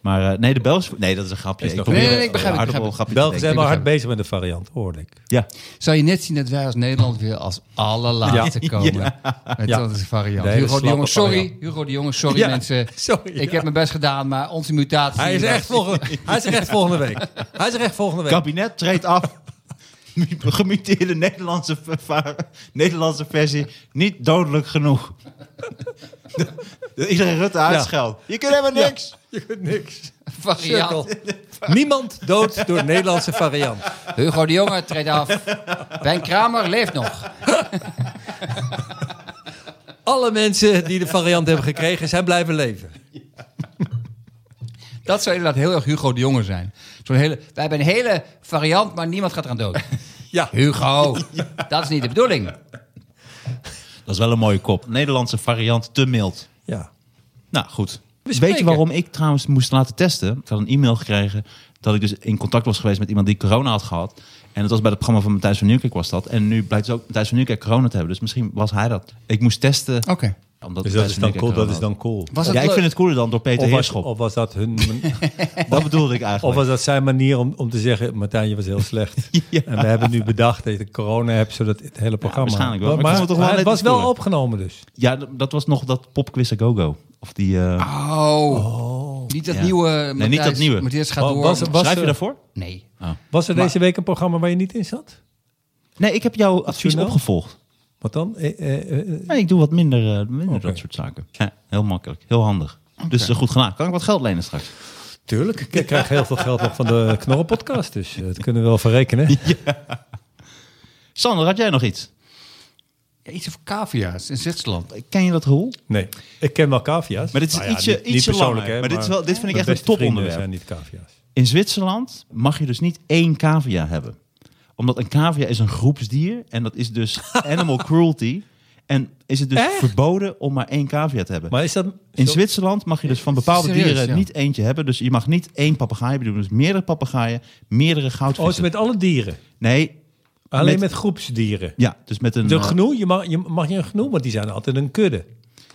Maar eh, nee, de Belgische... Nee, dat is een grapje. Is ik toch- probeer Nee, nee, nee, ik een begrijp het, ik aardappel begrijp grapje Belgen te zijn denken. wel hard bezig met de variant, hoorde ik. Ja, Zou je net zien dat wij als Nederland weer als allerlaatste Ja. komen. Met Ja. dat is variant. De hele Hugo de Jonge, slappe sorry. variant. Hugo de Jonge, sorry Ja, mensen. sorry, ik ja. heb mijn best gedaan, maar onze mutatie... Hij is, was- echt volgende, hij is er echt volgende week. Hij is er echt volgende week. kabinet treedt af. Gemuteerde Nederlandse, verva- Nederlandse versie. Niet dodelijk genoeg. Iedereen Rutte uitscheldt. Je kunt helemaal niks. Je kunt niks. Variant. Cirkel. Niemand dood door de Nederlandse variant. Hugo de Jonge, treed af. Ben Kramer leeft nog. Alle mensen die de variant hebben gekregen zijn blijven leven. Dat zou inderdaad heel erg Hugo de Jonge zijn. Zo'n hele, wij hebben een hele variant, maar niemand gaat eraan dood. Ja. Hugo, dat is niet de bedoeling. Dat is wel een mooie kop. Nederlandse variant te mild. ja. Nou goed. Bespreken. Weet je waarom ik trouwens moest laten testen? Ik had een e-mail gekregen dat ik dus in contact was geweest met iemand die corona had gehad. En dat was bij het programma van Matthijs van Nieuwkerk was dat. En nu blijkt dus ook Matthijs van Nieuwkerk corona te hebben. Dus misschien was hij dat. Ik moest testen Oké. Omdat Dus het dat is best dan een cool. dikke Dat is corona- dan cool. Was het Ja, ik leuk? vind het cooler dan door Peter Of was, Heerschop. of was dat hun... Dat bedoelde ik Of eigenlijk. was dat zijn manier om, om te zeggen, Martijn, je was heel slecht. En we hebben nu bedacht dat ik corona heb, zodat het hele programma... waarschijnlijk wel, maar Maar, ik vond het toch wel maar net iets het was wel cooler. opgenomen dus. Ja, d- dat was nog dat popquiz a go-go. Of die... eh, Oh. Niet dat Ja. nieuwe. niet Matthijs- dat nieuwe. Matthijs gaat Oh, door. was- was- schrijf je eh, daarvoor? nee. Was er deze week een programma waar je niet in zat? Nee, ik heb jouw advies journaal? opgevolgd. Wat dan? Eh, eh, eh, Nee, ik doe wat minder, eh, minder Oké. dat soort zaken. Ja, heel makkelijk. Heel handig. Dus eh, goed gedaan. Kan ik wat geld lenen straks? tuurlijk, ik krijg heel veel geld nog van de Knorren-podcast, dus eh, dat kunnen we wel verrekenen. Sander, had jij nog iets? Ja, iets over cavia's in Zwitserland. Ken je dat gevoel? Nee, ik ken wel cavia's. Maar dit is Nou ja, ietsje, niet- niet ietsje persoonlijk, langer. hè, maar dit, is wel, dit vind ik mijn echt een beste vrienden toponderwerp. zijn niet cavia's. In Zwitserland mag je dus niet één cavia hebben. Omdat een cavia is een groepsdier en dat is dus animal cruelty. En is het dus Echt? verboden om maar één cavia te hebben. Maar is dat... in zo- Zwitserland mag je dus van bepaalde Serieus, dieren ja. niet eentje hebben. Dus je mag niet één papegaai hebben, dus meerdere papegaaien, meerdere Oh, is goudvissen. het met alle dieren? Nee, Alleen Met- met, groepsdieren? ja, dus met een... De eh, gnoe, je mag, je, mag je een gnoe, want die zijn altijd een kudde.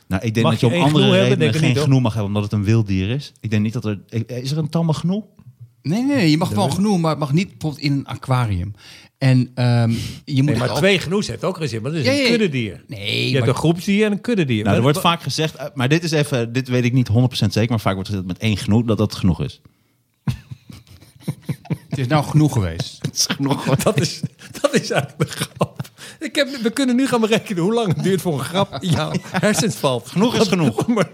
Nou, ik denk Mag dat je, je om één andere gnoe hebben? redenen Denk ik geen niet, hoor. gnoe mag hebben, omdat het een wild dier is. Ik denk niet dat er... Is er een tamme Nou, gnoe? Nee, nee, nee, je mag wel genoeg, maar het mag niet bijvoorbeeld in een aquarium. En ehm, je moet Nee, maar het ook- twee genoes heeft ook geen zin, want dat is Ja, ja, een ja. kuddedier. Nee, Je hebt maar een groepsdier en een kuddedier. Nou, er Maar- wordt vaak gezegd, eh, maar dit is even, dit weet ik niet 100% zeker, maar vaak wordt gezegd met één genoeg dat dat genoeg is. het is nou genoeg geweest. dat, is, dat is eigenlijk de grap. Ik heb, we kunnen nu gaan berekenen hoe lang het duurt voor een grap in jouw hersens valt. Genoeg is genoeg. Maar-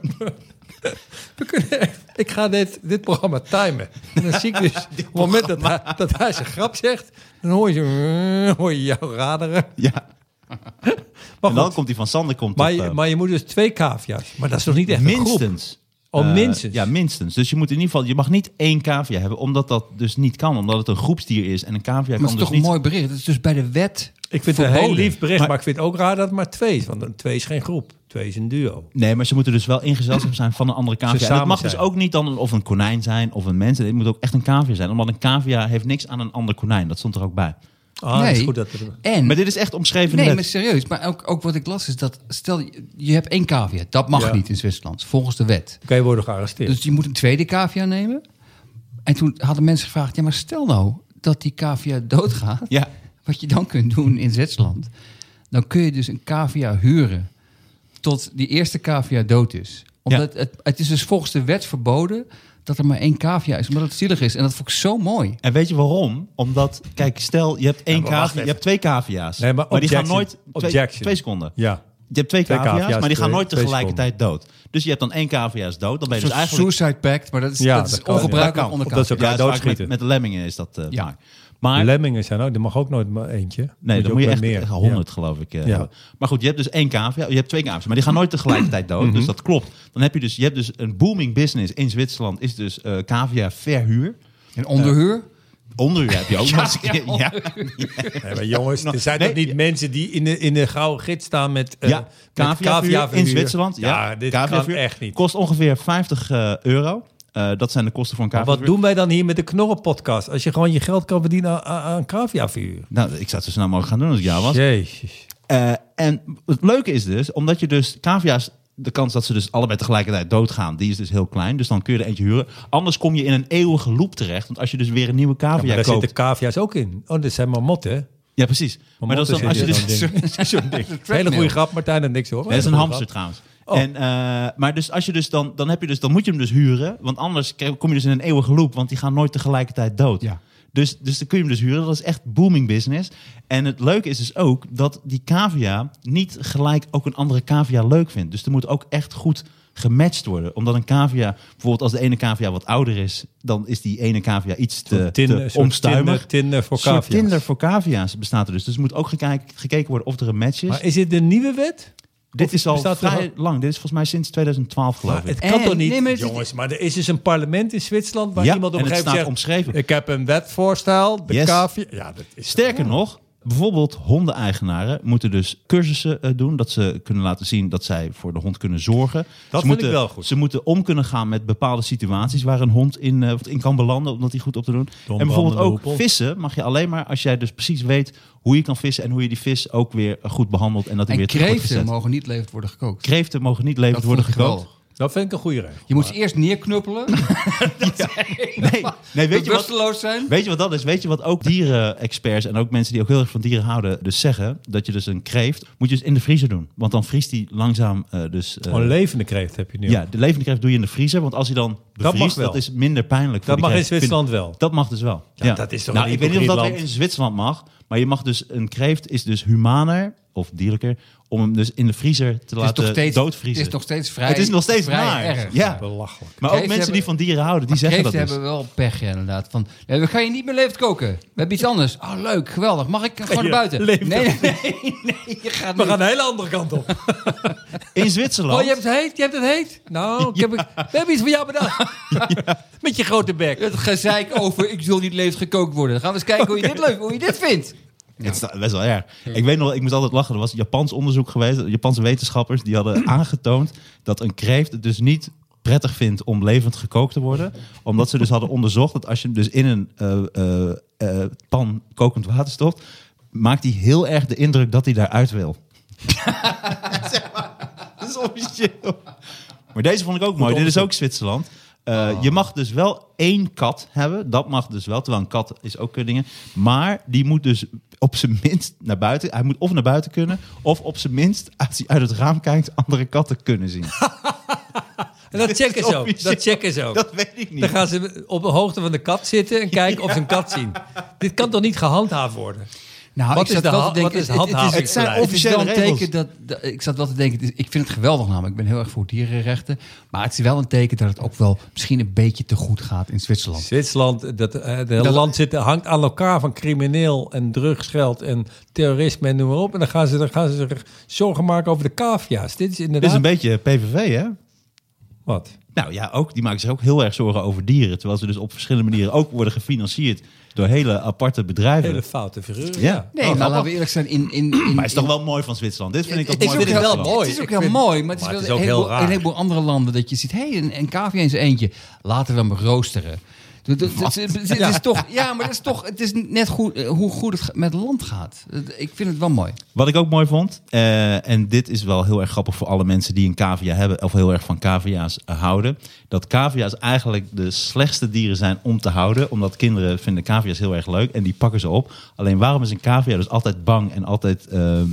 we kunnen echt- ik ga dit, dit programma timen. En dan zie ik dus, op het moment dat hij, dat hij zijn grap zegt, dan hoor je, zo- hoor je jou raderen. Ja. Maar, En dan goed, komt die van Sander komt maar, op, je, eh, maar je moet dus twee cavia's. Maar dat is toch niet echt een groep? minstens. Oh, Eh, minstens. ja, minstens. Dus je moet in ieder geval, je mag niet één cavia hebben, omdat dat dus niet kan, omdat het een groepsdier is en een cavia Maar kan het is dus toch een niet. mooi bericht. Het is dus bij de wet Ik vind het een verboden. heel lief bericht, maar, ik vind het ook raar dat het maar twee is. Want een twee is geen groep, twee is een duo. Nee, maar ze moeten dus wel in gezelschap zijn van een andere cavia. En dat samen mag dus zijn. ook niet dan een- of een konijn zijn of een mens. Het moet ook echt een cavia zijn, omdat een cavia heeft niks aan een ander konijn. Dat stond er ook bij. Ah, nee. dat is goed dat we- En, Maar dit is echt omschreven. nee, in de maar wet. serieus. Maar ook, ook wat ik las is dat, stel, je- je hebt één cavia. Dat mag Ja. niet in Zwitserland, volgens de wet. Oké, worden gearresteerd. Dus je moet een tweede cavia nemen. En toen hadden mensen gevraagd, ja, maar stel nou dat die cavia doodgaat. Ja. Wat je dan kunt doen in Zwitserland. Dan kun je dus een cavia huren tot die eerste cavia dood is. Omdat het, het is dus volgens de wet verboden dat er maar één cavia is. Omdat het zielig is. En dat vond ik zo mooi. En weet je waarom? Omdat, kijk, stel je hebt één maar wacht cavia, je even. hebt twee cavia's. Nee, maar die gaan objection. nooit twee, Objection. twee seconden. ja. Je hebt twee, Twee cavia's, cavia's, maar die gaan twee- nooit twee tegelijkertijd dood. Dus je hebt dan één cavia is dood. Dan ben je Zo'n dus eigenlijk... suicide pact, maar dat is, Ja, dat is dat kan, ja. ongebruikelijk Dat kan. onder Dat is cavia. ook- elkaar dat is vaak doodschieten. Met, met lemmingen is dat eh, Ja. vaak. Maar Lemmingen zijn ook, er mag ook nooit maar eentje. nee, dan ook moet je wel echt echt 100 geloof ik. eh, Ja. hebben. Maar goed, je hebt dus één cavia, je hebt twee cavia's, maar die gaan nooit tegelijkertijd dood. Mhm. Dus dat klopt. Dan heb je dus, je hebt dus een booming business in Zwitserland is dus eh cavia verhuur. En onderhuur? Onderhuur heb je ook nog eens een keer. Ja. Ja. Nee, maar jongens, er zijn Nee. toch niet mensen die in de, in de gouden gids staan met... eh, Ja, met caviavuur in caviaverhuur? Zwitserland. Ja, Ja, dit kan caviavuur. echt niet. Kost ongeveer 50 eh, euro. Eh, dat zijn de kosten voor een Maar cavia. wat doen wij dan hier met de Knorren-podcast? Als je gewoon je geld kan verdienen aan, aan- aan caviaverhuur. Nou, ik zou het zo snel mogelijk gaan doen als ik jou was. Jezus. Eh, en het leuke is dus, omdat je dus cavia's, de kans dat ze dus allebei tegelijkertijd doodgaan, die is dus heel klein. Dus dan kun je er eentje huren. Anders kom je in een eeuwige loop terecht. Want als je dus weer een nieuwe Ja, maar cavia daar koopt. zitten cavia's ook in. Oh, dit zijn marmotten, hè? Ja, precies. Maar dat is dan, als je Marmotten dus zitten in zo'n ding. Zo'n ding. Hele goede grap, Martijn, en niks hoor. Nee, dat is een Hele hamster goede grap. trouwens. En, eh, maar dus als je dus dan, dan heb je dus, dan moet je hem dus huren. Want anders k- kom je dus in een eeuwige loop, want die gaan nooit tegelijkertijd dood. Ja. Dus, dus dan kun je hem dus huren. Dat is echt booming business. En het leuke is dus ook dat die cavia niet gelijk ook een andere cavia leuk vindt. Dus er moet ook echt goed gematcht worden. Omdat een cavia, bijvoorbeeld als de ene cavia wat ouder is, dan is die ene cavia iets te, Een Tinder, een te soort omstuimig. Tinder, Tinder voor Een soort cavia's. Tinder voor cavia's bestaat er dus. Dus er moet ook gekijk- gekeken worden of er een match is. Maar is dit de nieuwe wet? Dit Of is al bestaat er vrij nog- lang. Dit is volgens mij sinds 2012, geloof Maar ik. het kan En- toch niet? nee, maar het- Jongens, maar er is dus een parlement in Zwitserland waar Ja, iemand op en een het gegeven staat moment zegt... omschreven. Ik heb een wetvoorstel, de Yes. kavi- Ja, dat is Sterker nog, Bijvoorbeeld hondeneigenaren moeten dus cursussen eh, doen. Dat ze kunnen laten zien dat zij voor de hond kunnen zorgen. Dat ze vind ik moeten, wel goed. Ze moeten om kunnen gaan met bepaalde situaties waar een hond in, eh, in kan belanden. Om dat die goed op te doen. en bijvoorbeeld brandende ook hoepel. vissen mag je alleen maar als jij dus precies weet hoe je kan vissen. En hoe je die vis ook weer eh, goed behandelt. En dat hij En weer terug wordt kreeften gezet. mogen niet levend worden gekookt. Kreeften mogen niet levend Dat worden vond ik gekookt. geweldig. Dat vind ik een goede regel. Je moet ze eerst neerknuppelen. Nee, nee weet, je wat, Bewusteloos zijn. weet je wat dat is? Weet je wat ook dieren-experts en ook mensen die ook heel erg van dieren houden dus zeggen? Dat je dus een kreeft moet je dus in de vriezer doen. Want dan vriest die langzaam eh, dus... eh, Gewoon een levende kreeft heb je nu. ja, de levende kreeft doe je in de vriezer. Want als hij dan bevriest, mag dat, wel. is minder pijnlijk. voor dat die mag in kreeft. Zwitserland wel. Vind- Dat mag dus wel. Ja, dat is toch nou, een ik weet niet of dat hypocriet weer in land. Zwitserland mag. Maar je mag dus een kreeft is dus humaner of dierlijker om hem dus in de vriezer te Het is, laten toch steeds, het doodvriezen. is nog steeds vrij Het is nog steeds vrij naar. erg. Ja. Belachelijk. Maar ook mensen die Kreeften hebben- van dieren houden, die zeggen dat Kreeften dus. hebben wel pech ja, inderdaad. Van, ja, we gaan je niet meer levend koken. We hebben iets anders. Oh, leuk, geweldig. Mag ik gewoon naar Ja, buiten? Nee, levend. nee, nee, nee, je gaat We niet. gaan de hele andere kant op. In Zwitserland. Oh, je hebt het heet? Je hebt het heet? Nou, ik heb, ik- we hebben iets voor jou bedacht. Met je grote bek. Het gezeik over ik wil niet levend gekookt worden. Dan gaan we eens kijken hoe je dit leuk, hoe je dit vindt. Het is da- best wel erg. Ik weet nog, ik moest altijd lachen. Er was Japans onderzoek geweest. Japanse wetenschappers die hadden aangetoond dat een kreeft het dus niet prettig vindt om levend gekookt te worden. Omdat ze dus hadden onderzocht dat als je hem dus in een eh, eh, eh, pan kokend water stopt, maakt hij heel erg de indruk dat hij daaruit wil. Zeg maar, dat is officieel. Maar deze vond ik ook mooi. Dit is ook Zwitserland. Eh, Je mag dus wel één kat hebben. Dat mag dus wel. Terwijl een kat is ook eh, dingen. Maar die moet dus op zijn minst naar buiten. Hij moet of naar buiten kunnen. Of op zijn minst, als hij uit het raam kijkt, andere katten kunnen zien. En dat checken is ze ook. officieel. Dat checken ze ook. Dat weet ik niet. Dan gaan ze op de hoogte van de kat zitten en kijken of ze een kat zien. Dit kan toch niet gehandhaafd worden? Nou, Wat ik is zat de wel ha- te denken, wat is het- het- handhaving? Het Het zijn zijn officiële wel een regels. teken dat, dat- ik zat wel te denken, het is- ik vind het geweldig namelijk. Ik ben heel erg voor dierenrechten. Maar het is wel een teken dat het ook wel misschien een beetje te goed gaat in Zwitserland. Zwitserland, dat, eh, het hele Dat- land zit, hangt aan elkaar van crimineel en drugsgeld en terrorisme en noem maar op. En dan gaan ze, dan gaan ze zich zorgen maken over de cavia's. Dit is Dit inderdaad... is een beetje PVV, hè? Wat? Nou ja, ook, die maken zich ook heel erg zorgen over dieren. Terwijl ze dus op verschillende manieren ook worden gefinancierd door hele aparte bedrijven. Hele foute figuren. Ja. ja. Nee, maar Oh, laten we eerlijk zijn, in... in, in Maar het is toch wel mooi van Zwitserland. Dit vind ik toch het is mooi ook van heel Zwitserland. mooi. Het is ook Ik heel vind- mooi, maar het is, maar wel het is ook een heel heleboel, raar. een heleboel andere landen dat je ziet, hé, hey, een, een cavia in zijn eentje, laten we hem roosteren. Dat- dat- dat- Het is- het is toch, ja, maar dat is toch, het is net goed, eh, hoe goed het ge- met het land gaat. Dat- Ik vind het wel mooi. Wat ik ook mooi vond, eh, en dit is wel heel erg grappig voor alle mensen die een cavia hebben of heel erg van cavia's eh, houden, dat cavia's eigenlijk de slechtste dieren zijn om te houden, omdat kinderen vinden cavia's heel erg leuk en die pakken ze op. Alleen waarom is een cavia dus altijd bang en altijd, ehm,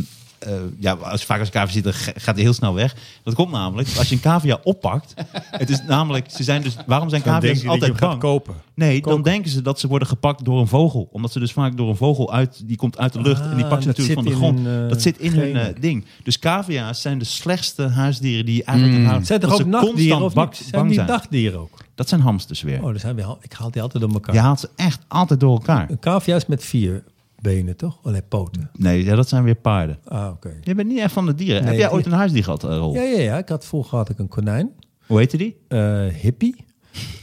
eh, ja, als, vaak als een cavia zit, dan ga- gaat hij heel snel weg. Dat komt namelijk, als je een cavia oppakt, het is namelijk, ze zijn dus, waarom zijn denk cavia's je dat je altijd hem gaat bang? kopen. Nee, dan denken ze dat ze worden gepakt door een vogel. Omdat ze dus vaak door een vogel uit... Die komt uit de lucht en die Ah, pakt ze dat natuurlijk van zit de in grond. hun, eh, dat zit in hun genen. eh, ding. Dus cavia's zijn de slechtste huisdieren die je eigenlijk kan houden. Mm. Zijn er Omdat ze ook nachtdieren constant of bak- niet? Zijn bang die zijn. dagdieren ook? Dat zijn hamsters weer. Oh, dan zijn we, al- ik haal die altijd door elkaar. Je haalt ze echt altijd door elkaar. Een cavia is met vier benen, toch? Oh, nee, poten. Nee, ja, dat zijn weer paarden. Ah, oké. Je bent niet echt van de dieren. Nee, Heb jij die- ooit een huisdier gehad, eh, Rolf? Ja, ja, ja. Ik had, vroeger had ik een konijn. Hoe heette die? eh, hippie.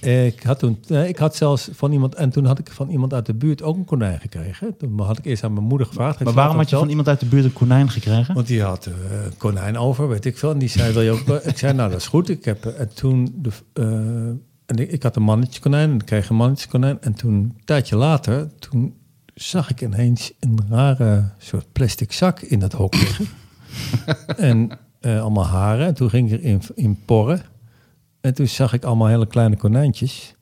ik, had toen, nee, ik had zelfs van iemand... En toen had ik van iemand uit de buurt ook een konijn gekregen. Toen had ik eerst aan mijn moeder gevraagd. Maar waarom had je van iemand uit de buurt een konijn gekregen? Want die had eh, een konijn over, weet ik veel. En die zei, wil je ook... wel? ik zei, nou, dat is goed. Ik heb, eh, en toen... De, eh, en ik, ik had een mannetje konijn en ik kreeg een mannetje konijn. En toen, een tijdje later, toen zag ik ineens een rare soort plastic zak in dat hok liggen. en eh, allemaal haren. En toen ging ik erin in porren. En toen zag ik allemaal hele kleine konijntjes.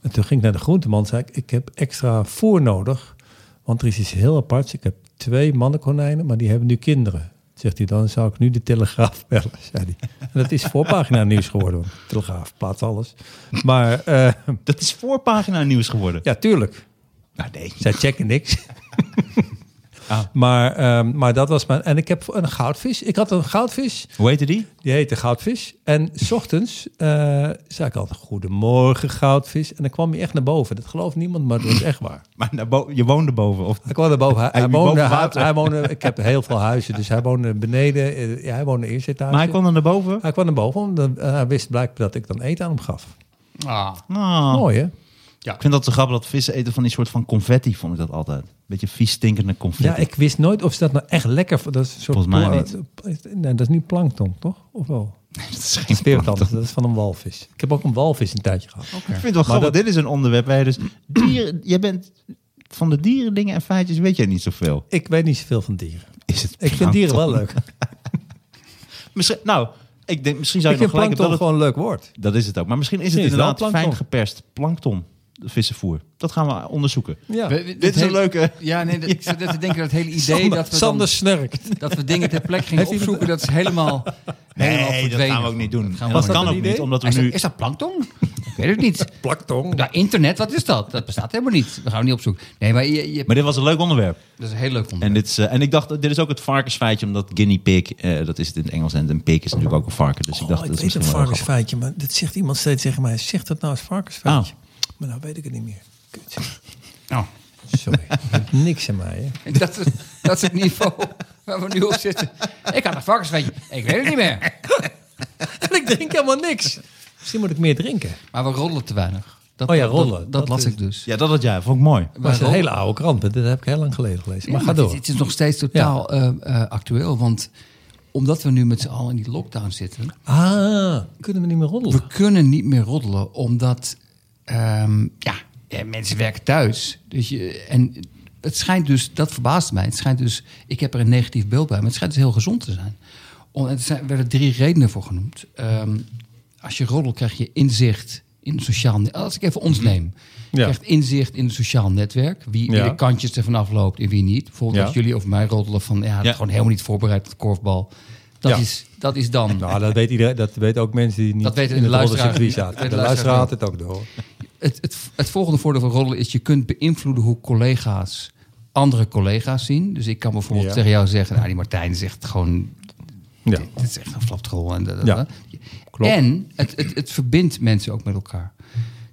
En toen ging ik naar de groenteman en zei ik, ik heb extra voer nodig. Want er is iets heel aparts. Ik heb twee mannenkonijnen, maar die hebben nu kinderen. Zegt hij, dan zou ik nu de Telegraaf bellen, zei hij. En dat is voorpagina nieuws geworden. want de Telegraaf plaatst alles. Maar eh, Dat is voorpagina nieuws geworden. ja, tuurlijk. Nou, nee. Zij checken niks. Maar, ehm, maar dat was mijn... En ik heb een goudvis. Ik had een goudvis. Hoe heette die? Die heette Goudvis. En 's ochtends eh, zei ik altijd: Goedemorgen, Goudvis. En dan kwam hij echt naar boven. Dat gelooft niemand, maar dat was echt waar. Maar naar bo- je woonde boven. Of... Hij kwam naar boven. Hij, Hij hij liep woonde, boven hij, water. hij woonde. Ik heb heel veel huizen, dus hij woonde beneden. eh, Ja, hij woonde eerst in het huis. Maar hij kwam dan naar boven? Hij kwam naar boven, omdat eh, hij wist blijkbaar dat ik dan eten aan hem gaf. Ah, Nou, Mooi, hè? Ja. Ik vind dat zo grappig dat vissen eten van die soort van confetti, vond ik dat altijd. Beetje vies stinkende confetti. Ja, ik wist nooit of ze dat nou echt lekker... v- Dat is een soort Volgens mij pla- niet. eh, Nee, dat is niet plankton, toch? Of wel? dat is Dat geen is weer wat plankton. anders. Dat is van een walvis. Ik heb ook een walvis een tijdje gehad. Ik vind het wel grappig. Dit is een onderwerp waar je dus... Dieren, jij bent... Van de dierendingen en feitjes weet jij niet zoveel. Ik weet niet zoveel van dieren. Is het Ik vind dieren wel leuk. Misschien, nou, ik denk, misschien zou Ik je nog vind gelijk hebben plankton dat het- gewoon een leuk woord. Dat is het ook. Maar misschien is het Misschien is het wel inderdaad fijn plankton. geperst plankton, vissenvoer. Dat gaan we onderzoeken. Ja. We- we- Dit is een hele- leuke. Ja, nee, dat, ik zat net te denken dat het hele idee Sander, dat, we dan- Sander snurkt. dat we dingen ter plekke gingen Heeft opzoeken, dat is helemaal, helemaal Nee, dat verdwenen. gaan we ook niet doen. Dat Dat, gaan we ook kan niet ook doen. niet, omdat we Is, nu... dat, is dat plankton? ik weet het niet. Plankton. Ja, internet, wat is dat? Dat bestaat helemaal niet. Dat gaan we niet opzoeken. Nee, maar je, je, Maar dit was een leuk onderwerp. dat is een heel leuk En, onderwerp. dit is, eh, en ik dacht, dit is ook het varkensfeitje, omdat guinea pig, eh, dat is het in het Engels, en een pig is natuurlijk ook een varken. Dus ik dacht, Oh, dat ik is weet een misschien wel grappig. varkensfeitje, maar dat zegt iemand steeds tegen mij. Zegt dat nou eens varkensfeitje? Maar nou weet ik het niet meer. Kut. Oh. Nou, Sorry, je hebt niks aan mij. Hè? en dat, is- dat is het niveau waar we nu op zitten. Ik had een varkensveetje. Ik weet het niet meer. En ik drink helemaal niks. Misschien moet ik meer drinken. Maar we rollen te weinig. Dat, Oh ja, dat- rollen. Dat Dat, dat las is- ik dus. Ja, dat had jij. Vond ik mooi. We Maar het is een rollen- hele oude krant, maar dat heb ik heel lang geleden gelezen. Maar Ja, ga maar door. Het, het is nog steeds totaal eh, eh, actueel. Want omdat we nu met z'n allen in die lockdown zitten... Ah, kunnen we niet meer roddelen? We kunnen niet meer roddelen, omdat ehm, ja, eh, mensen werken thuis. Dus je, en het schijnt dus, dat verbaast mij. Het schijnt dus, ik heb er een negatief beeld bij, maar het schijnt dus heel gezond te zijn. Om, er zijn, werden drie redenen voor genoemd. Ehm, als je roddelt, krijg je inzicht in het sociaal net- Als ik even ons neem, je Mhm. Ja. krijgt inzicht in het sociaal netwerk. Wie, wie Ja. de kantjes ervan afloopt en wie niet. Bijvoorbeeld Ja. als jullie over mij roddelen van ja, dat Ja. is gewoon helemaal niet voorbereid op korfbal. Dat, Ja. is, dat is dan. Nou, dat weet iedereen. Dat weten ook mensen die niet Dat weten in de het luisteraar- roddelcircuit dat zaten. weten De de luisteraar had luisteraar het ook door. Het, het, het volgende voordeel van roddelen is je kunt beïnvloeden hoe collega's andere collega's zien. Dus ik kan bijvoorbeeld Ja. tegen jou zeggen, nou die Martijn zegt gewoon, Ja. dit, dit is echt een flapdrol. En, dat- dat- Ja, dat. klopt. en het, het, het verbindt mensen ook met elkaar.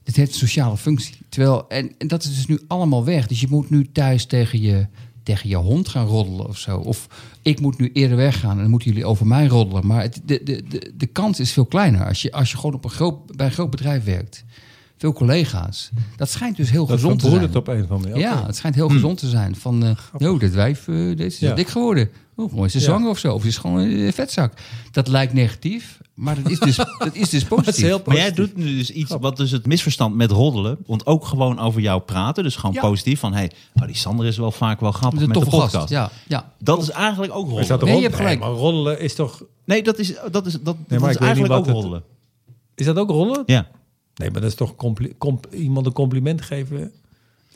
Dit heeft een sociale functie. Terwijl, en, en dat is dus nu allemaal weg. Dus je moet nu thuis tegen je, tegen je hond gaan roddelen of zo. Of ik moet nu eerder weggaan en dan moeten jullie over mij roddelen. Maar het, de, de, de, de kans is veel kleiner als je, als je gewoon op een groot, bij een groot bedrijf werkt. Veel collega's. Dat schijnt dus heel Dat gezond te zijn. verbroedert op een of andere manier. Ja, het schijnt heel gezond te zijn. Van, eh nou, dit wijf, eh, deze is Ja. dik geworden. Oh, mooi is ze Ja. zwanger of zo. Of ze is gewoon een eh, vetzak. Dat lijkt negatief, maar dat is dus, dat is dus Dat is positief. heel Maar jij positief. doet nu dus iets wat dus het misverstand met roddelen, want ook gewoon over jou praten, dus gewoon Ja. positief van, hé, hey, oh, die Sander is wel vaak wel grappig Met een met de toffe podcast. gast. Ja, ja. Dat is eigenlijk ook Is dat roddelen. Nee, rond- je hebt gelijk. maar roddelen is toch... Nee, dat is, dat is, dat, maar dat is ik weet niet eigenlijk wat ook het- roddelen. Is dat ook rollen? Ja. Nee, maar dat is toch compli- comp- iemand een compliment geven?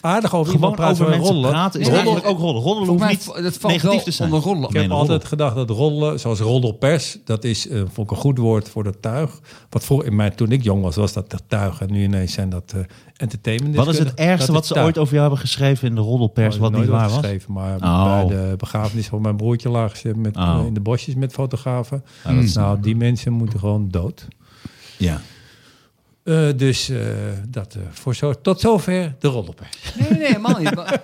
Aardig over iemand Gewoon praten over over mensen rollen. praten is Nee, eigenlijk nee. ook roddelen. Roddelen Volgens hoeft mij niet vo- dat valt negatief wel te zijn. onder roddelen. Ik heb Algemene altijd gedacht dat rollen, zoals roddelpers, dat is eh, vond ik een goed woord voor dat tuig. Wat voor in mij toen ik jong was, was dat dat tuig. En nu ineens zijn dat eh entertainment. Wat is het ergste wat ze ooit over jou hebben geschreven in de roddelpers, wat niet waar was? geschreven, maar Oh. bij de begrafenis van mijn broertje lagen ze met, Oh. eh, in de bosjes met fotografen. nou, die mensen moeten gewoon dood. Ja. Eh, dus eh, dat eh, voor zo, tot zover de roddelpers. Nee, nee, helemaal niet. Maar,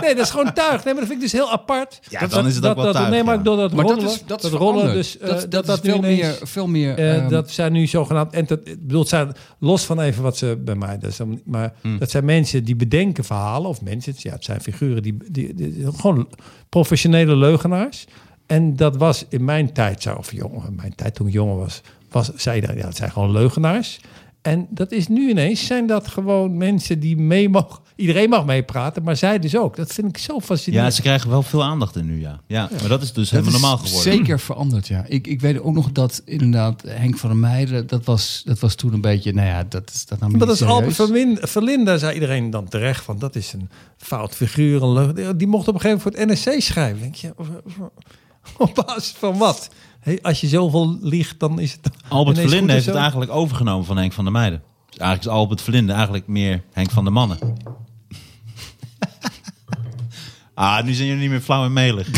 Nee, dat is gewoon tuig. Nee, maar dat vind ik dus heel apart. Ja, dan is het ook wel dat, tuig, Nee, maar ja. ik door dat maar rollen, dat is, dat is rollen veranderd. dus, eh, dat, dat, is nu veel ineens- meer... Veel meer Eh, ehm, dat zijn nu zogenaamd. En dat, ik bedoel, het zijn los van even wat ze bij mij. Dat is dan, maar dat zijn mensen die bedenken verhalen. Of mensen, ja, het zijn figuren die, die, die- die- gewoon professionele leugenaars. En dat was in mijn tijd, zo, of jongen, in mijn tijd toen ik jonger was, was zei iedereen, ja, het zijn gewoon leugenaars. En dat is nu ineens, zijn dat gewoon mensen die mee mogen. Iedereen mag meepraten, maar zij dus ook. Dat vind ik zo fascinerend. ja, ze krijgen wel veel aandacht in nu, ja. Ja, maar dat is dus helemaal Dat is normaal geworden. Zeker veranderd, ja. Ik, ik weet ook nog dat inderdaad Henk van der Meijden, dat was, dat was toen een beetje, nou ja, dat is dat nam Maar niet dat is serieus. Albert Vermin- Verlinda, zei iedereen dan terecht. Van dat is een fout figuur. Een leugen. Die mocht op een gegeven moment voor het NSC schrijven. Denk je, op basis van wat? Hé, als je zoveel liegt, dan is het. Albert ineens goed Verlinde en heeft het zo. eigenlijk overgenomen van Henk van der Meijden. Dus eigenlijk is Albert Verlinde eigenlijk meer Henk van der Mannen. ah, nu zijn jullie niet meer flauw en melig.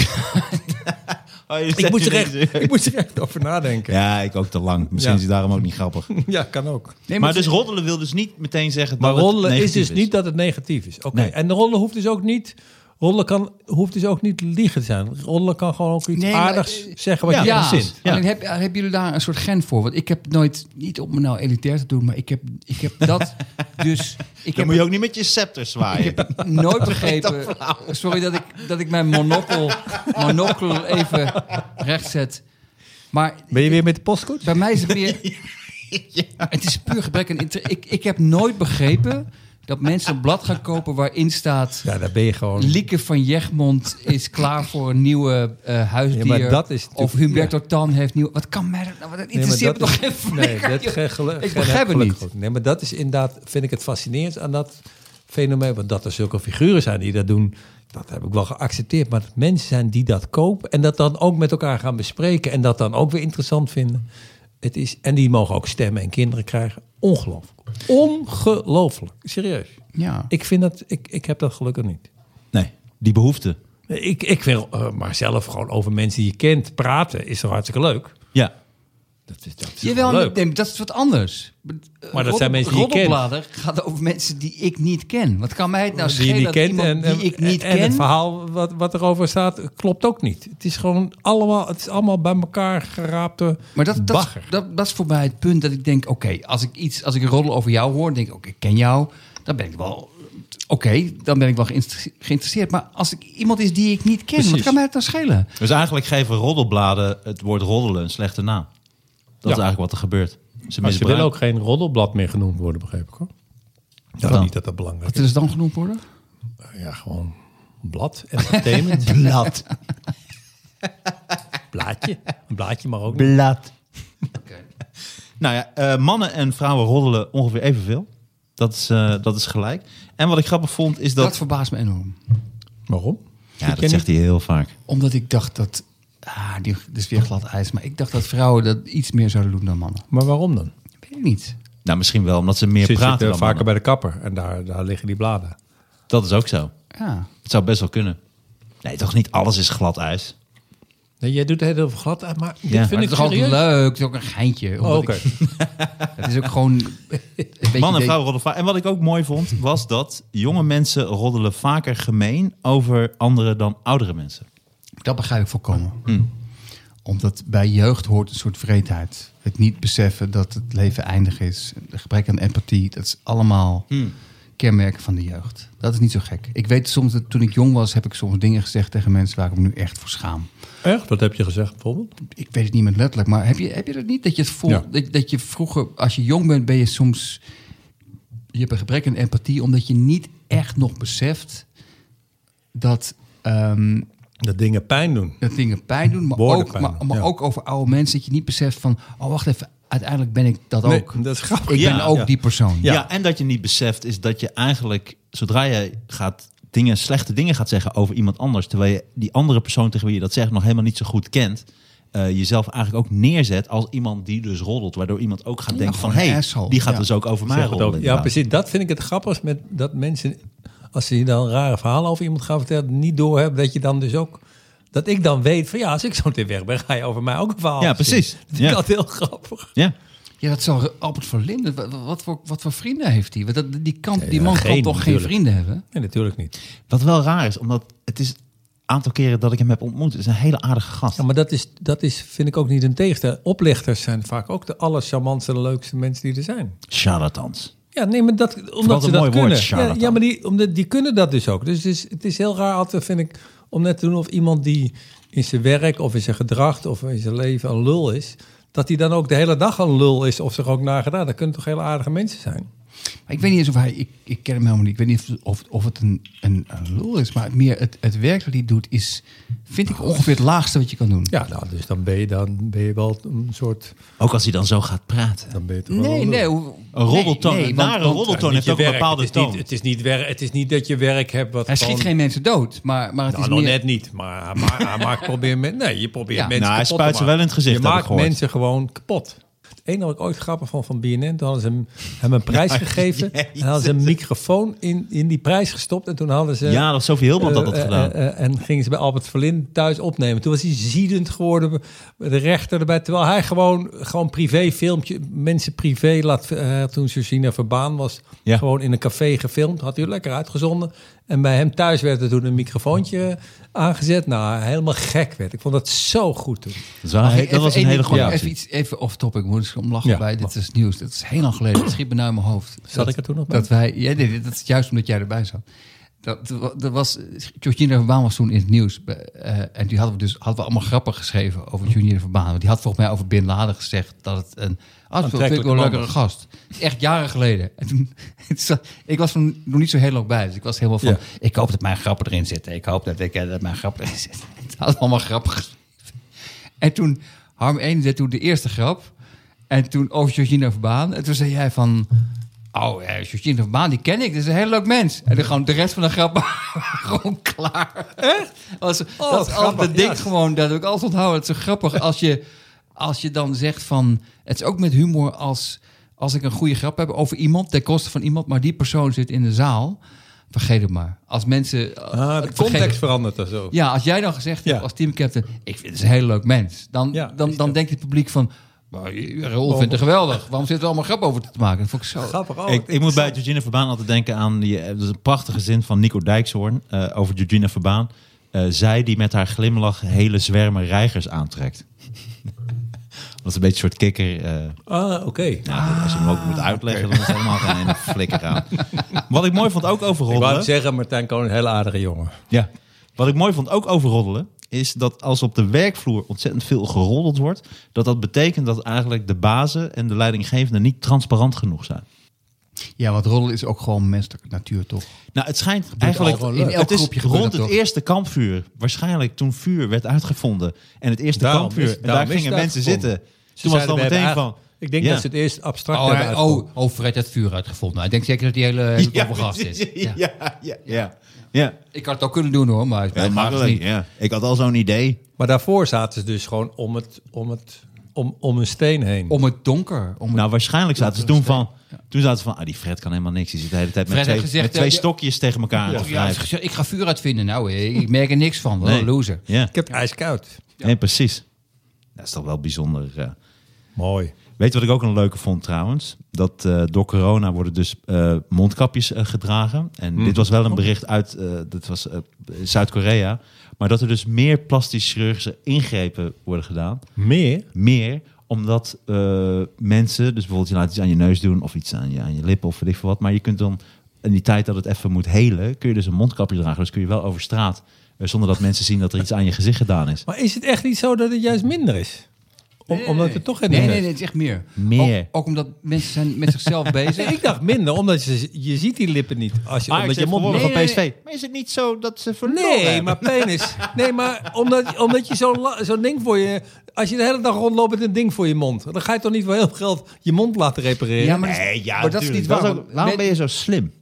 Oh, jullie zijn Ik moet, nu er echt, niet- ik moet er echt over nadenken. Ja, Ja, ik ook te lang. Misschien Ja. is het daarom ook niet grappig. kan ook. Nee, maar maar dus roddelen wil dus niet meteen zeggen dat Maar het rollen is negatief dus niet dat het negatief is. Oké. Nee. En rollen hoeft dus ook niet. Roddelen kan, hoeft dus ook niet liegen te zijn. Roddelen kan gewoon ook iets Nee, maar, aardigs eh, zeggen wat ja, je ja. ja. zin. Ja. Alleen heb, hebben jullie daar een soort gen voor? Want ik heb nooit, niet om me nou elitair te doen, maar ik heb, ik heb dat dus... Ik Dan heb moet je ook niet met je scepter zwaaien. nooit begrepen. Sorry dat ik, dat ik mijn monocle, monocle even rechtzet. Maar Ben je weer met de postcoach? bij mij is het meer. Het is puur gebrek aan inter- ik, ik heb nooit begrepen dat mensen een blad gaan kopen waarin staat. Ja, daar ben je gewoon. Lieke van Egmond is klaar voor een nieuwe eh huisdier. Ja, maar dat is of natuurlijk- Humberto Tan heeft nieuw. Wat kan mij dat nou? Dat maar interesseert dat me is- toch even. Nee, dat ge- gelu- ik ge- begrijp het niet. gelukkig ook. Nee, maar dat is inderdaad, vind ik het fascinerend aan dat fenomeen. Want dat er zulke figuren zijn die dat doen, dat heb ik wel geaccepteerd. Maar dat mensen zijn die dat kopen en dat dan ook met elkaar gaan bespreken. En dat dan ook weer interessant vinden. Het is, en die mogen ook stemmen en kinderen krijgen. Ongelooflijk. Ongelooflijk. Serieus. Ja. Ik vind dat, ik, ik heb dat gelukkig niet. Nee, die behoefte. Ik, ik wil eh, maar zelf gewoon over mensen die je kent praten, is toch hartstikke leuk. Ja. Dat is, dat is Jawel, wel leuk. nee, dat is wat anders. Maar dat zijn mensen die je kent. Roddelblader gaat over mensen die ik niet ken. Wat kan mij het nou die je schelen niet dat kent iemand en, die ik niet en ken... het verhaal wat, wat erover staat klopt ook niet. Het is gewoon allemaal, het is allemaal bij elkaar geraapte maar dat, dat, bagger. dat, dat is voor mij het punt dat ik denk... oké, als ik iets, als ik een roddel over jou hoor... denk ik, oké, ik ken jou. Dan ben ik wel... Oké, dan ben ik wel geïnter- geïnteresseerd. Maar als ik iemand is die ik niet ken... wat Precies. kan mij het nou schelen? Dus eigenlijk geven roddelbladen het woord roddelen een slechte naam. Dat is eigenlijk wat er gebeurt. Ze Maar ze misbruiken- willen ook geen roddelblad meer genoemd worden, begreep ik hoor. Nou, dan? niet dat dat belangrijk Wat is. is dan genoemd worden? Ja, gewoon blad, entertainment. blad. Blaadje. Een blaadje maar ook niet. Nou ja, eh, mannen en vrouwen roddelen ongeveer evenveel. Dat is, eh, dat is gelijk. En wat ik grappig vond is Dat... dat... verbaast me enorm. Waarom? ja, ken dat zegt hij heel vaak. Omdat ik dacht dat... Ah, die, dit is weer glad ijs. Maar ik dacht dat vrouwen dat iets meer zouden doen dan mannen. Maar waarom dan? Weet ik niet. Nou, misschien wel omdat ze meer Ze praten zitten dan vaker mannen. bij de kapper en daar, daar liggen die bladen. Dat is ook zo. Ja. Het zou best wel kunnen. Nee, toch niet alles is glad ijs. Nee, jij doet het heel veel glad uit, maar dit Ja. vind Maar ik het is ook serieus. leuk, het is ook een geintje. Oh, omdat Oké. ik- het is ook gewoon... een beetje Man en de- vrouw roddelen vaak. En wat ik ook mooi vond, was dat jonge mensen roddelen vaker gemeen over anderen dan oudere mensen. Dat begrijp ik volkomen. Omdat bij jeugd hoort een soort vreedheid. Het niet beseffen dat het leven eindig is. De gebrek aan empathie. Dat is allemaal kenmerken van de jeugd. Dat is niet zo gek. Ik weet soms dat toen ik jong was, heb ik soms dingen gezegd tegen mensen waar ik me nu echt voor schaam. Echt? Wat heb je gezegd bijvoorbeeld? ik weet het niet meer letterlijk, maar heb je, heb je dat niet? Dat je het voelt, Ja. dat, dat je vroeger, als je jong bent, ben je soms... Je hebt een gebrek aan empathie, omdat je niet echt nog beseft dat, ehm, Dat dingen pijn doen. dat dingen pijn doen. Maar, Woorden ook, pijn maar, doen, maar ja. ook over oude mensen, dat je niet beseft van... Oh, wacht even, uiteindelijk ben ik dat Nee, ook. dat is grappig. Ik Ja, ben ook ja. die persoon. Ja. en dat je niet beseft is dat je eigenlijk, zodra je gaat dingen, slechte dingen gaat zeggen over iemand anders, terwijl je die andere persoon tegen wie je dat zegt nog helemaal niet zo goed kent, eh, jezelf eigenlijk ook neerzet als iemand die dus roddelt, waardoor iemand ook gaat denken van, gewoon een hey, asshole." die gaat Ja. dus ook over mij Zeg het roddelen. ook. Ja, inderdaad. precies. Dat vind ik het grappigst met dat mensen, als ze je dan rare verhalen over iemand gaan vertellen, niet doorhebben dat je dan dus ook, dat ik dan weet van ja, als ik zo meteen weg ben, ga je over mij ook een verhaal. Ja, verzinnen. precies. Dat vind ik Ja. altijd heel grappig. Ja. Ja, dat zal Albert van Linden... Wat, wat, voor, wat voor vrienden heeft hij? Want dat- Die, kan, die ja, man kan geen, toch geen natuurlijk. vrienden hebben? Nee, natuurlijk niet. Wat wel raar is, omdat het is een aantal keren dat ik hem heb ontmoet, is een hele aardige gast. Ja, maar dat is, dat is, vind ik ook niet een tegenstelling. Oplichters zijn vaak ook de allercharmantste, leukste mensen die er zijn. Charlatans. Ja, nee, maar dat, een omdat ze dat mooi woord, kunnen. ja, charlatan. ja, maar die, omdat, die kunnen dat dus ook. Dus het is, het is heel raar altijd, vind ik, om net te doen of iemand die in zijn werk of in zijn gedrag of in zijn leven een lul is, dat hij dan ook de hele dag een lul is of zich ook nagedaan. Dat kunnen toch hele aardige mensen zijn? Maar Ik weet niet eens of hij, ik, ik ken hem helemaal niet. Ik weet niet of, of, of het een, een, een lul is, maar meer het, het werk dat hij doet is, vind ik ongeveer het laagste wat je kan doen. Ja, nou, dus dan ben je, dan ben je wel een soort... Ook als hij dan zo gaat praten. Dan ben je toch wel Nee, een lul. nee. hoe- Een roddeltoon, nee, een want- nare want roddeltoon heeft Niet je ook een werk. bepaalde het is, niet, toon. het, is niet werk, het is niet dat je werk hebt wat Hij schiet gewoon- geen mensen dood, maar, maar het Nou, is nog meer... net niet, maar, hij ma- hij maakt probeer men, nee, je probeert Ja. mensen Nou, hij kapot spuit te ze maken. wel in het gezicht, Je heb ik maakt gehoord. mensen gewoon kapot. enige wat ik ooit grappig van van BNN. Toen hadden ze hem, hem een prijs gegeven. En hadden ze een microfoon in, in die prijs gestopt. En toen hadden ze... ja, dat Sophie Hilband had dat Eh, gedaan. eh, eh, en gingen ze bij Albert Verlin thuis opnemen. Toen was hij ziedend geworden, de rechter erbij. Terwijl hij gewoon, gewoon privé filmpje, mensen privé laat... eh, toen Susina Verbaan was, Ja. gewoon in een café gefilmd. Had hij lekker uitgezonden. En bij hem thuis werd er toen een microfoontje eh, aangezet. Nou, hij helemaal gek werd. Ik vond dat zo goed toen. dat is wel een he- dat was een hele goede ja. Even, actie. iets, even off topic, moet ik om lachen Ja. bij. Dit is nieuws. Dat is heel lang geleden. Het schiet me nou in mijn hoofd. Zat ik er toen nog bij? Dat wij, ja, nee, dat is juist omdat jij erbij zat. Dat, dat was, Georgina Verbaan was toen in het nieuws. Bij- eh, en die hadden we dus hadden we allemaal grappen geschreven Hm. over Georgina Verbaan. Want die had volgens mij over Bin Laden gezegd dat het een Aantrekkelijke hartstikke man lekkere was. gast. Het is Echt jaren geleden. En toen, het zat- ik was van, nog niet zo heel lang bij. Dus ik was helemaal van, Ja. ik hoop dat mijn grappen erin zitten. Ik hoop dat, ik, eh, dat mijn grappen erin zitten. Het had allemaal grappen geschreven. En toen, Harm 1 deed toen de eerste grap. En toen over Georgina Verbaan. En toen zei jij van... Oh, eh, Georgina Verbaan, die ken ik. Dat is een heel leuk mens. En dan gewoon de rest van de grap gewoon klaar. Echt? Oh, dat is grappig, altijd ding ja. gewoon. Dat heb ik altijd onthouden. Het is zo grappig als je, als je dan zegt van... Het is ook met humor als, als ik een goede grap heb over iemand... ten koste van iemand, maar die persoon zit in de zaal... Vergeet het maar. Als mensen... eh, Ah, de vergeet het. context verandert er zo. Ja, als jij dan gezegd hebt Ja. als teamcaptain... ik vind het een heel leuk mens. Dan, Ja, dan, is dan dat. denkt het publiek van... "Maar, Raoul vindt het geweldig. Waarom zit er allemaal grap over te maken? Dat vond ik zo... Grappig oh. ook. Ik, ik moet bij Georgina Verbaan altijd denken aan die, eh, dat is een prachtige zin van Nico Dijkshoorn eh, over Georgina Verbaan. Eh, zij die met haar glimlach hele zwermen reigers aantrekt. dat is een beetje een soort kikker. eh, Ah, oké. nou, als je hem ook moet Ah, uitleggen, dan is het helemaal geen ene flikker aan. Wat ik mooi vond ook over Ik wou het roddelen. zeggen, Martijn Koon, een hele aardige jongen. Ja. Wat ik mooi vond ook over roddelen, is dat als op de werkvloer ontzettend veel geroddeld wordt, dat dat betekent dat eigenlijk de bazen en de leidinggevenden niet transparant genoeg zijn. Ja, want roddelen is ook gewoon menselijke natuur, toch? Nou, het schijnt eigenlijk al wel leuk. In elk het is groepje gebeurt rond dat het toch? eerste kampvuur. Waarschijnlijk toen vuur werd uitgevonden en het eerste Daarom kampvuur is- en daarom daar is gingen het mensen uitgevonden. zitten. Ze toen was het al zeiden, we meteen hebben van. eigenlijk- Ik denk ja. dat ze het eerst abstract Oh, hebben hij- uitgevonden. oh, oh, Fred had het vuur uitgevonden. Hij denkt zeker dat hij hele, hele Ja, toffe gast is. Ja. Ja, ja, ja. ja. ja. Ik had het ook kunnen doen, hoor. Maar ja makkelijk. Ja. Ik had al zo'n idee. Maar daarvoor zaten ze dus gewoon om, het, om, het, om, om een steen heen. Om het donker. Om het- Nou, waarschijnlijk zaten ze toen van. Toen zaten ze van, ah, die Fred kan helemaal niks. Die zit de hele tijd met Fred heeft twee, gezegd, met twee eh, ja. stokjes tegen elkaar aan te ja, hij heeft wrijven. gezegd, ik ga vuur uitvinden. Nou, eh, ik merk er niks van. Wat een loser. Ja, Ik heb het ijskoud. Nee, precies. Dat is toch wel bijzonder. eh. Mooi. Weet je wat ik ook een leuke vond trouwens? Dat eh, door corona worden dus eh, mondkapjes eh, gedragen. En dit was wel een bericht uit eh, dit was, eh, Zuid-Korea. Maar dat er dus meer plastisch chirurgische ingrepen worden gedaan. Meer? Meer omdat eh, mensen, dus bijvoorbeeld je laat iets aan je neus doen of iets aan je, aan je lippen of weet ik veel wat. Maar je kunt dan in die tijd dat het even moet helen, kun je dus een mondkapje dragen. Dus kun je wel over straat eh, zonder dat mensen zien dat er iets aan je gezicht gedaan is. Maar is het echt niet zo dat het juist minder is? Om, Omdat het toch geen Nee, nee, minder nee, is? het is echt meer. Meer. Ook, ook omdat mensen zijn met zichzelf bezig. Ik dacht minder, omdat je, je ziet die lippen niet. Als je, Ah, omdat je mond van Nee, nee, PSV. Maar is het niet zo dat ze verloren Nee, hebben? maar penis. Nee, maar omdat, omdat je zo'n la- zo'n ding voor je... Als je de hele dag rondloopt met een ding voor je mond... dan ga je toch niet voor heel veel geld je mond laten repareren? Ja, maar, dat is- Nee, ja, maar dat is natuurlijk. niet waar. ook- want waarom men- ben je zo slim?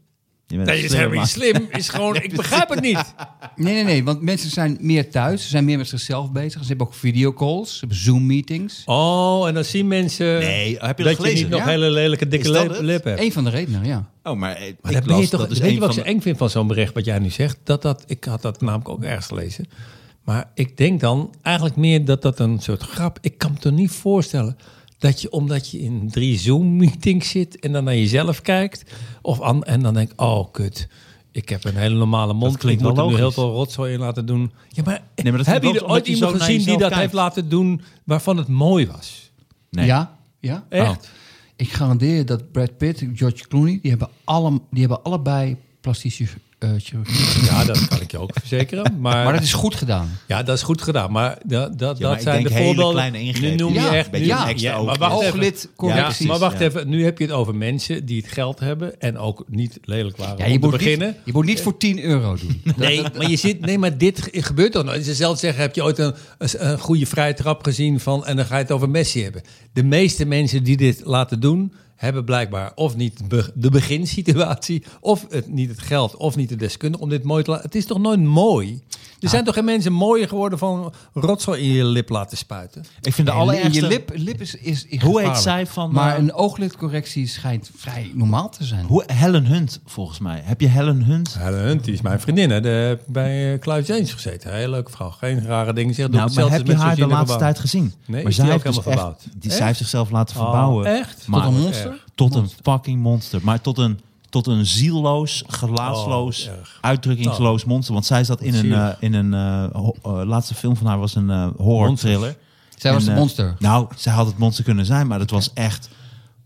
Je bent Nee, een dat slimme is helemaal niet man. slim. Is gewoon, ik begrijp het niet. Nee, nee, nee, want mensen zijn meer thuis. Ze zijn meer met zichzelf bezig. Ze hebben ook videocalls, ze hebben Zoom-meetings. Oh, en dan zien mensen Nee, heb je dat dat je gelezen? niet nog Ja. hele lelijke dikke Is dat lip, het? lip hebt. Eén van de redenen, ja. Oh, maar, eh, Maar ik dat ben je las, toch, dat is weet een je wat van ik de- zo eng vind van e- zo'n bericht wat jij nu zegt? Dat dat, ik had dat namelijk ook ergens gelezen. Maar ik denk dan eigenlijk meer dat dat een soort grap... Ik kan me toch niet voorstellen dat je, omdat je in drie Zoom-meetings zit... en dan naar jezelf kijkt of aan, en dan denkt, oh kut... Ik heb een hele normale mond. klinkt ik moet wel er nu heel logisch. veel rotzooi in laten doen. Ja, maar, maar dat heb komt je ook er omdat ooit je zo iemand naar gezien die dat jezelf kijkt. heeft laten doen waarvan het mooi was? Nee. Nou, Ja? Ja? Oh. Echt? Ik garandeer je dat Brad Pitt en George Clooney... die hebben, alle, die hebben allebei plastische eh, chirurgie. Ja, dat kan ik je ook verzekeren. Maar, Maar dat is goed gedaan. ja, dat is goed gedaan. Maar dat, dat, maar dat ik zijn denk de hele voorbeelden. kleine ingrepen. Nu noem je Ja, echt beetje nu- een extra maar oogje. wacht even. Hooglid, Ja, correcties. maar wacht ja. even. Nu heb je het over mensen die het geld hebben en ook niet lelijk waren Ja, om je, te moet niet, beginnen. je moet niet voor 10 euro doen. Nee, maar je zit, nee, maar dit ge- gebeurt toch nooit. Ze zelf zeggen, heb je ooit een, een goede vrije trap gezien van... en dan ga je het over Messi hebben. De meeste mensen die dit laten doen... hebben blijkbaar of niet be- de beginsituatie... of het, niet het geld, of niet de deskunde om dit mooi te laten... Het is toch nooit mooi? Nou. zijn toch geen mensen mooier geworden van rotzooi in je lip laten spuiten? Ik vind de Alleen allerergste... je lip, lip is, is, is Hoe heet gevaarlijk. zij van, Maar eh, een ooglidcorrectie schijnt vrij normaal te zijn. Hoe, Helen Hunt, volgens mij. Heb je Helen Hunt? Nou, Helen Hunt, die is mijn vriendin. Hè. De, bij eh, Kluis Eens gezeten. Hele leuke vrouw. Geen rare dingen. Zeg, Nou, maar heb je haar de laatste tijd gezien? Nee, maar is die ook dus helemaal echt- verbouwd? die, zij Echt? Oh, heeft zichzelf laten verbouwen. echt? Maar, Tot een monster? Tot een fucking monster. Maar tot een, tot een zielloos, gelaatsloos, Oh, erg. uitdrukkingsloos monster. Want zij zat in een, eh, zielig. in een eh, ho- eh, laatste film van haar was een eh, horror thriller. Zij was En, de eh, monster. nou, zij had het monster kunnen zijn, maar dat was echt...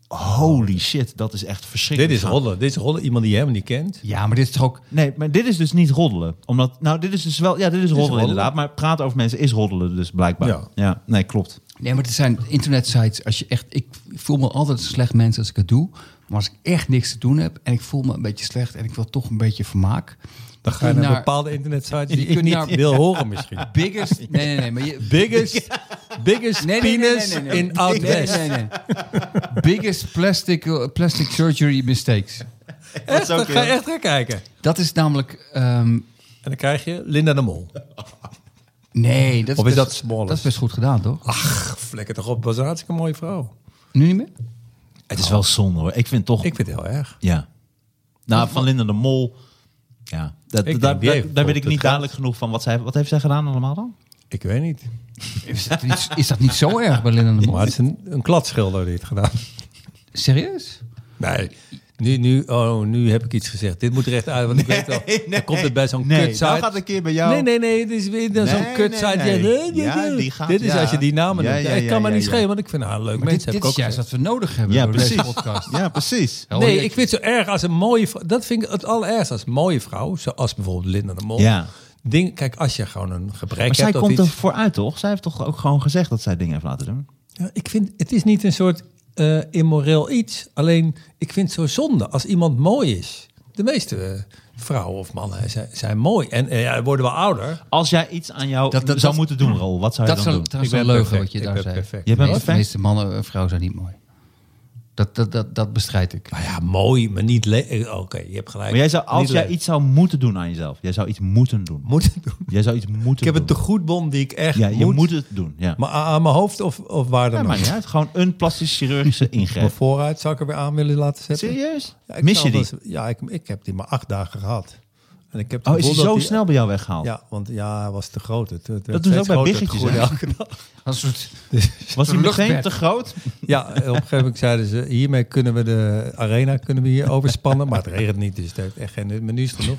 Holy shit, dat is echt Dit verschrikkelijk. is rollen. Dit is rollen. Iemand die je helemaal niet kent. Ja, maar dit is toch ook... Nee, maar dit is dus niet roddelen. Omdat, nou, dit is dus wel, ja, dit is roddelen roddelen. inderdaad. Maar praten over mensen is roddelen dus blijkbaar. Ja. Ja, nee, klopt. Nee, maar het zijn internetsites. Als je echt, ik voel me altijd een slecht mens als ik het doe. Maar als ik echt niks te doen heb en ik voel me een beetje slecht en ik wil toch een beetje vermaak. Dan ga je kun naar, je naar- bepaalde internetsites die je ik kunt niet naar- wil horen misschien. Biggest. Nee, nee, nee. Maar je, Biggest, biggest Nee, nee, nee, penis nee, nee, nee. in Out Nee, West. nee, nee, nee. Biggest plastic, eh, plastic surgery mistakes. Echt, dan ga je echt naar kijken. Dat is namelijk. ehm, En dan krijg je Linda de Mol. nee, dat is, Of is best- dat Smollens? Dat is best goed gedaan, toch? Ach, vlekken toch op. Dat was een hartstikke mooie vrouw. Nu niet meer? Het is wel zonde hoor. Oh. Ik vind toch, Ik vind het heel erg. ja. Nou, van Linda de Mol, ja. Dat, denk, daar- die daar- heeft daar weet het ik niet geld. duidelijk genoeg van. Wat, zij, wat heeft zij gedaan allemaal dan? Ik weet niet. Is dat niet, is dat niet zo erg bij Linda de Mol? Maar het is een, een kladschilder dit gedaan. Serieus? Nee. Nu, nu, oh, nu heb ik iets gezegd. Dit moet recht uit, want ik weet al. Dan komt het bij zo'n Nee, kutsite. nou gaat een keer bij jou- Nee, nee, nee. Dit is weer dan Nee, zo'n kutsite. nee, nee. Ja, ja, ja. Ja, die gaat- dit is ja. als je die namen Ja, noemt. ja, ik ja, kan me ja, niet ja. schelen, want ik vind haar een leuk Dit, mens. dit heb ik is ook juist gezegd. wat we nodig hebben Ja, voor deze precies. podcast. Ja, precies. Nee, ik vind het zo erg als een mooie vrou- Dat vind ik het allerergst als een mooie vrouw. Zoals bijvoorbeeld Linda de Mol. Ja. Ding, kijk, als je gewoon een gebrek Maar zij hebt of komt iets. er vooruit toch? Zij heeft toch ook gewoon gezegd dat zij dingen heeft laten doen? Ja, ik vind, het is niet een soort eh, immoreel iets. Alleen, ik vind het zo zonde als iemand mooi is. De meeste eh, vrouwen of mannen zijn, zijn mooi. En eh, ja, worden wel ouder. Als jij iets aan jou Dat- zou dat- dat- moeten doen, Rol, wat zou je Dat is dan wel- doen? trouwens Ik wel ben leugen perfect. wat je Ik daar ben zei. perfect. Jij bent Nee, de perfect? meeste mannen en vrouwen zijn niet mooi. Dat, dat, dat, dat bestrijd ik. Nou ja, mooi, maar niet... le- eh, Oké, je hebt gelijk. Maar jij zou, als Niet jij leuk. iets zou moeten doen aan jezelf, jij zou iets moeten doen. moet doen. Jij zou iets moeten doen. Ik heb een tegoedbon die ik echt Ja, je moet. moet, het doen. Ja. Maar aan aan mijn hoofd of, of waar dan Ja, ook. maakt niet uit. Gewoon een plastisch chirurgische Mijn ingreep. vooruit zou ik er weer aan willen laten zetten. Serieus? Ja, ik Mis zou je die? wel eens- ja, ik, ik heb die maar acht dagen gehad. En ik heb het Oh, is gevoel die dat zo die- snel bij jou weggehaald? Ja, want ja, hij was te groot. Het, het Dat doen ze ook bij biggetjes, biggetjes. hè? Als een soort Was die meteen Luchtbed. te groot? Ja, op een gegeven moment zeiden ze, hiermee kunnen we de arena kunnen we hier overspannen. Maar het regent niet, dus het heeft echt geen menu genoeg.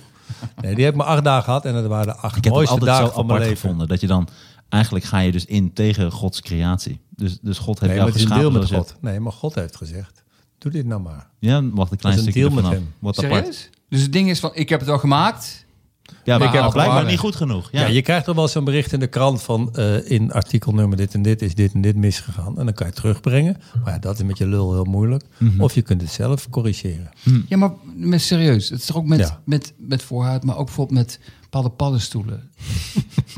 Nee, die heb ik maar acht dagen gehad en dat waren de acht Ik heb het mooiste altijd dagen zo van mijn apart leven. gevonden. Dat je dan... Eigenlijk ga je dus in tegen Gods creatie. Dus, dus God heeft Nee, maar jou het is een geschapen. deal met zoals je- God. Nee, maar God heeft gezegd, doe dit nou maar. Ja, wacht een klein Het is een stukje deal met ervan af. hem. Wat apart. Serieus? Dus het ding is van, ik heb het al gemaakt. Ja, maar heb het blijkbaar verwarren. niet goed genoeg. Ja. Ja, je krijgt er wel zo'n bericht in de krant van eh, in artikelnummer dit en dit is dit en dit misgegaan. En dan kan je het terugbrengen. Maar ja, dat is met je lul heel moeilijk. Mhm. Of je kunt het zelf corrigeren. Ja, maar met serieus. Het is toch ook met, Hm. Ja. met, met voorhuid, maar ook bijvoorbeeld met bepaalde paddenstoelen.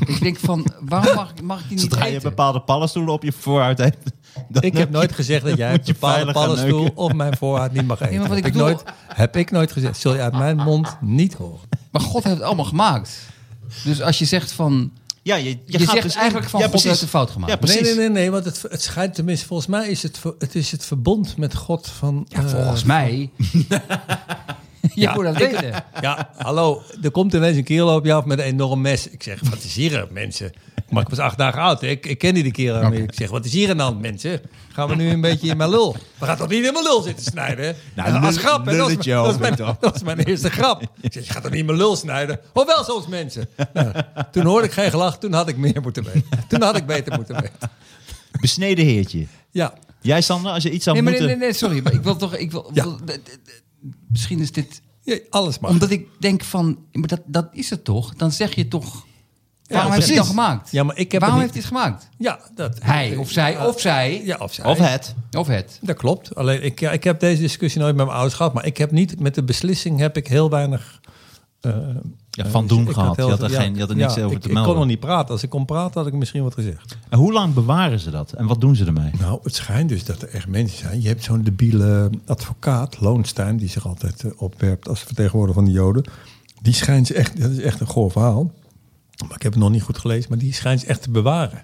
ik denk van, waarom mag, ik- mag ik die niet Zodra je eten? bepaalde paddenstoelen op je vooruit hebt... dan- Ik heb nooit gezegd dat jij een je bepaalde veilig gaan paddenstoel neuken. of mijn voorraad niet mag eten. maar wat heb, ik ik bedoel- nooit, heb ik nooit gezegd. Zul je uit mijn mond niet horen. Maar God heeft het allemaal gemaakt. Dus als je zegt van, Ja, je, je, Je gaat zegt dus in- eigenlijk van ja, God heeft precies. een fout gemaakt. Ja, precies. Nee, nee, nee, nee. Want het, het schijnt tenminste, volgens mij is het, ver- het, is het verbond met God van... ja, eh, volgens mij. je moet dat weten. Ja, hallo. Er komt ineens een kerel op je af met een enorm mes. Ik zeg, wat is hier, aan, mensen? Maar ik was acht dagen oud. hè. Ik, ik ken die kerel. niet. Ik zeg, wat is hier aan de hand, mensen? Gaan we nu een beetje in mijn lul? We gaan toch niet in mijn lul zitten snijden? hè? Nou, dat was lul- grap. hè. Dat was, lulletje mijn- dat, was hoop ik mijn, dat was mijn eerste grap. Ik zeg, je gaat toch niet in mijn lul snijden? Hoewel soms mensen. Nou, toen hoorde ik geen gelach. Toen had ik meer moeten weten. Toen had ik beter moeten weten. Besneden heertje. Ja. Jij, Sander, als je iets zou Nee, maar nee, moeten... nee, nee, sorry. Maar ik wil toch, ik wil, Ja. wil- d- d- d- misschien is dit Ja, alles mag. Omdat ik denk van, maar dat, dat is het toch? Dan zeg je toch, waarom heeft precies. hij dat gemaakt? Ja, maar ik heb waarom het heeft hij het gemaakt? Ja, dat... Hij of zij, Ja, of zij, Ja, of zij. Of het. of het. Dat klopt. Alleen ik, ja, ik heb deze discussie nooit met mijn ouders gehad. Maar ik heb niet met de beslissing heb ik heel weinig. eh, Ja, van doen ik had gehad. heel Je had er veel- ja, geen- je had er niks ja, over ik, te Ik kon melden. nog niet praten. Als ik kon praten, had ik misschien wat gezegd. En hoe lang bewaren ze dat? En wat doen ze ermee? Nou, het schijnt dus dat er echt mensen zijn. Je hebt zo'n debiele advocaat, Loonstein, die zich altijd eh, opwerpt als vertegenwoordiger van de Joden. Die schijnt ze echt, dat is echt een goor verhaal. Maar ik heb het nog niet goed gelezen. Maar die schijnt ze echt te bewaren.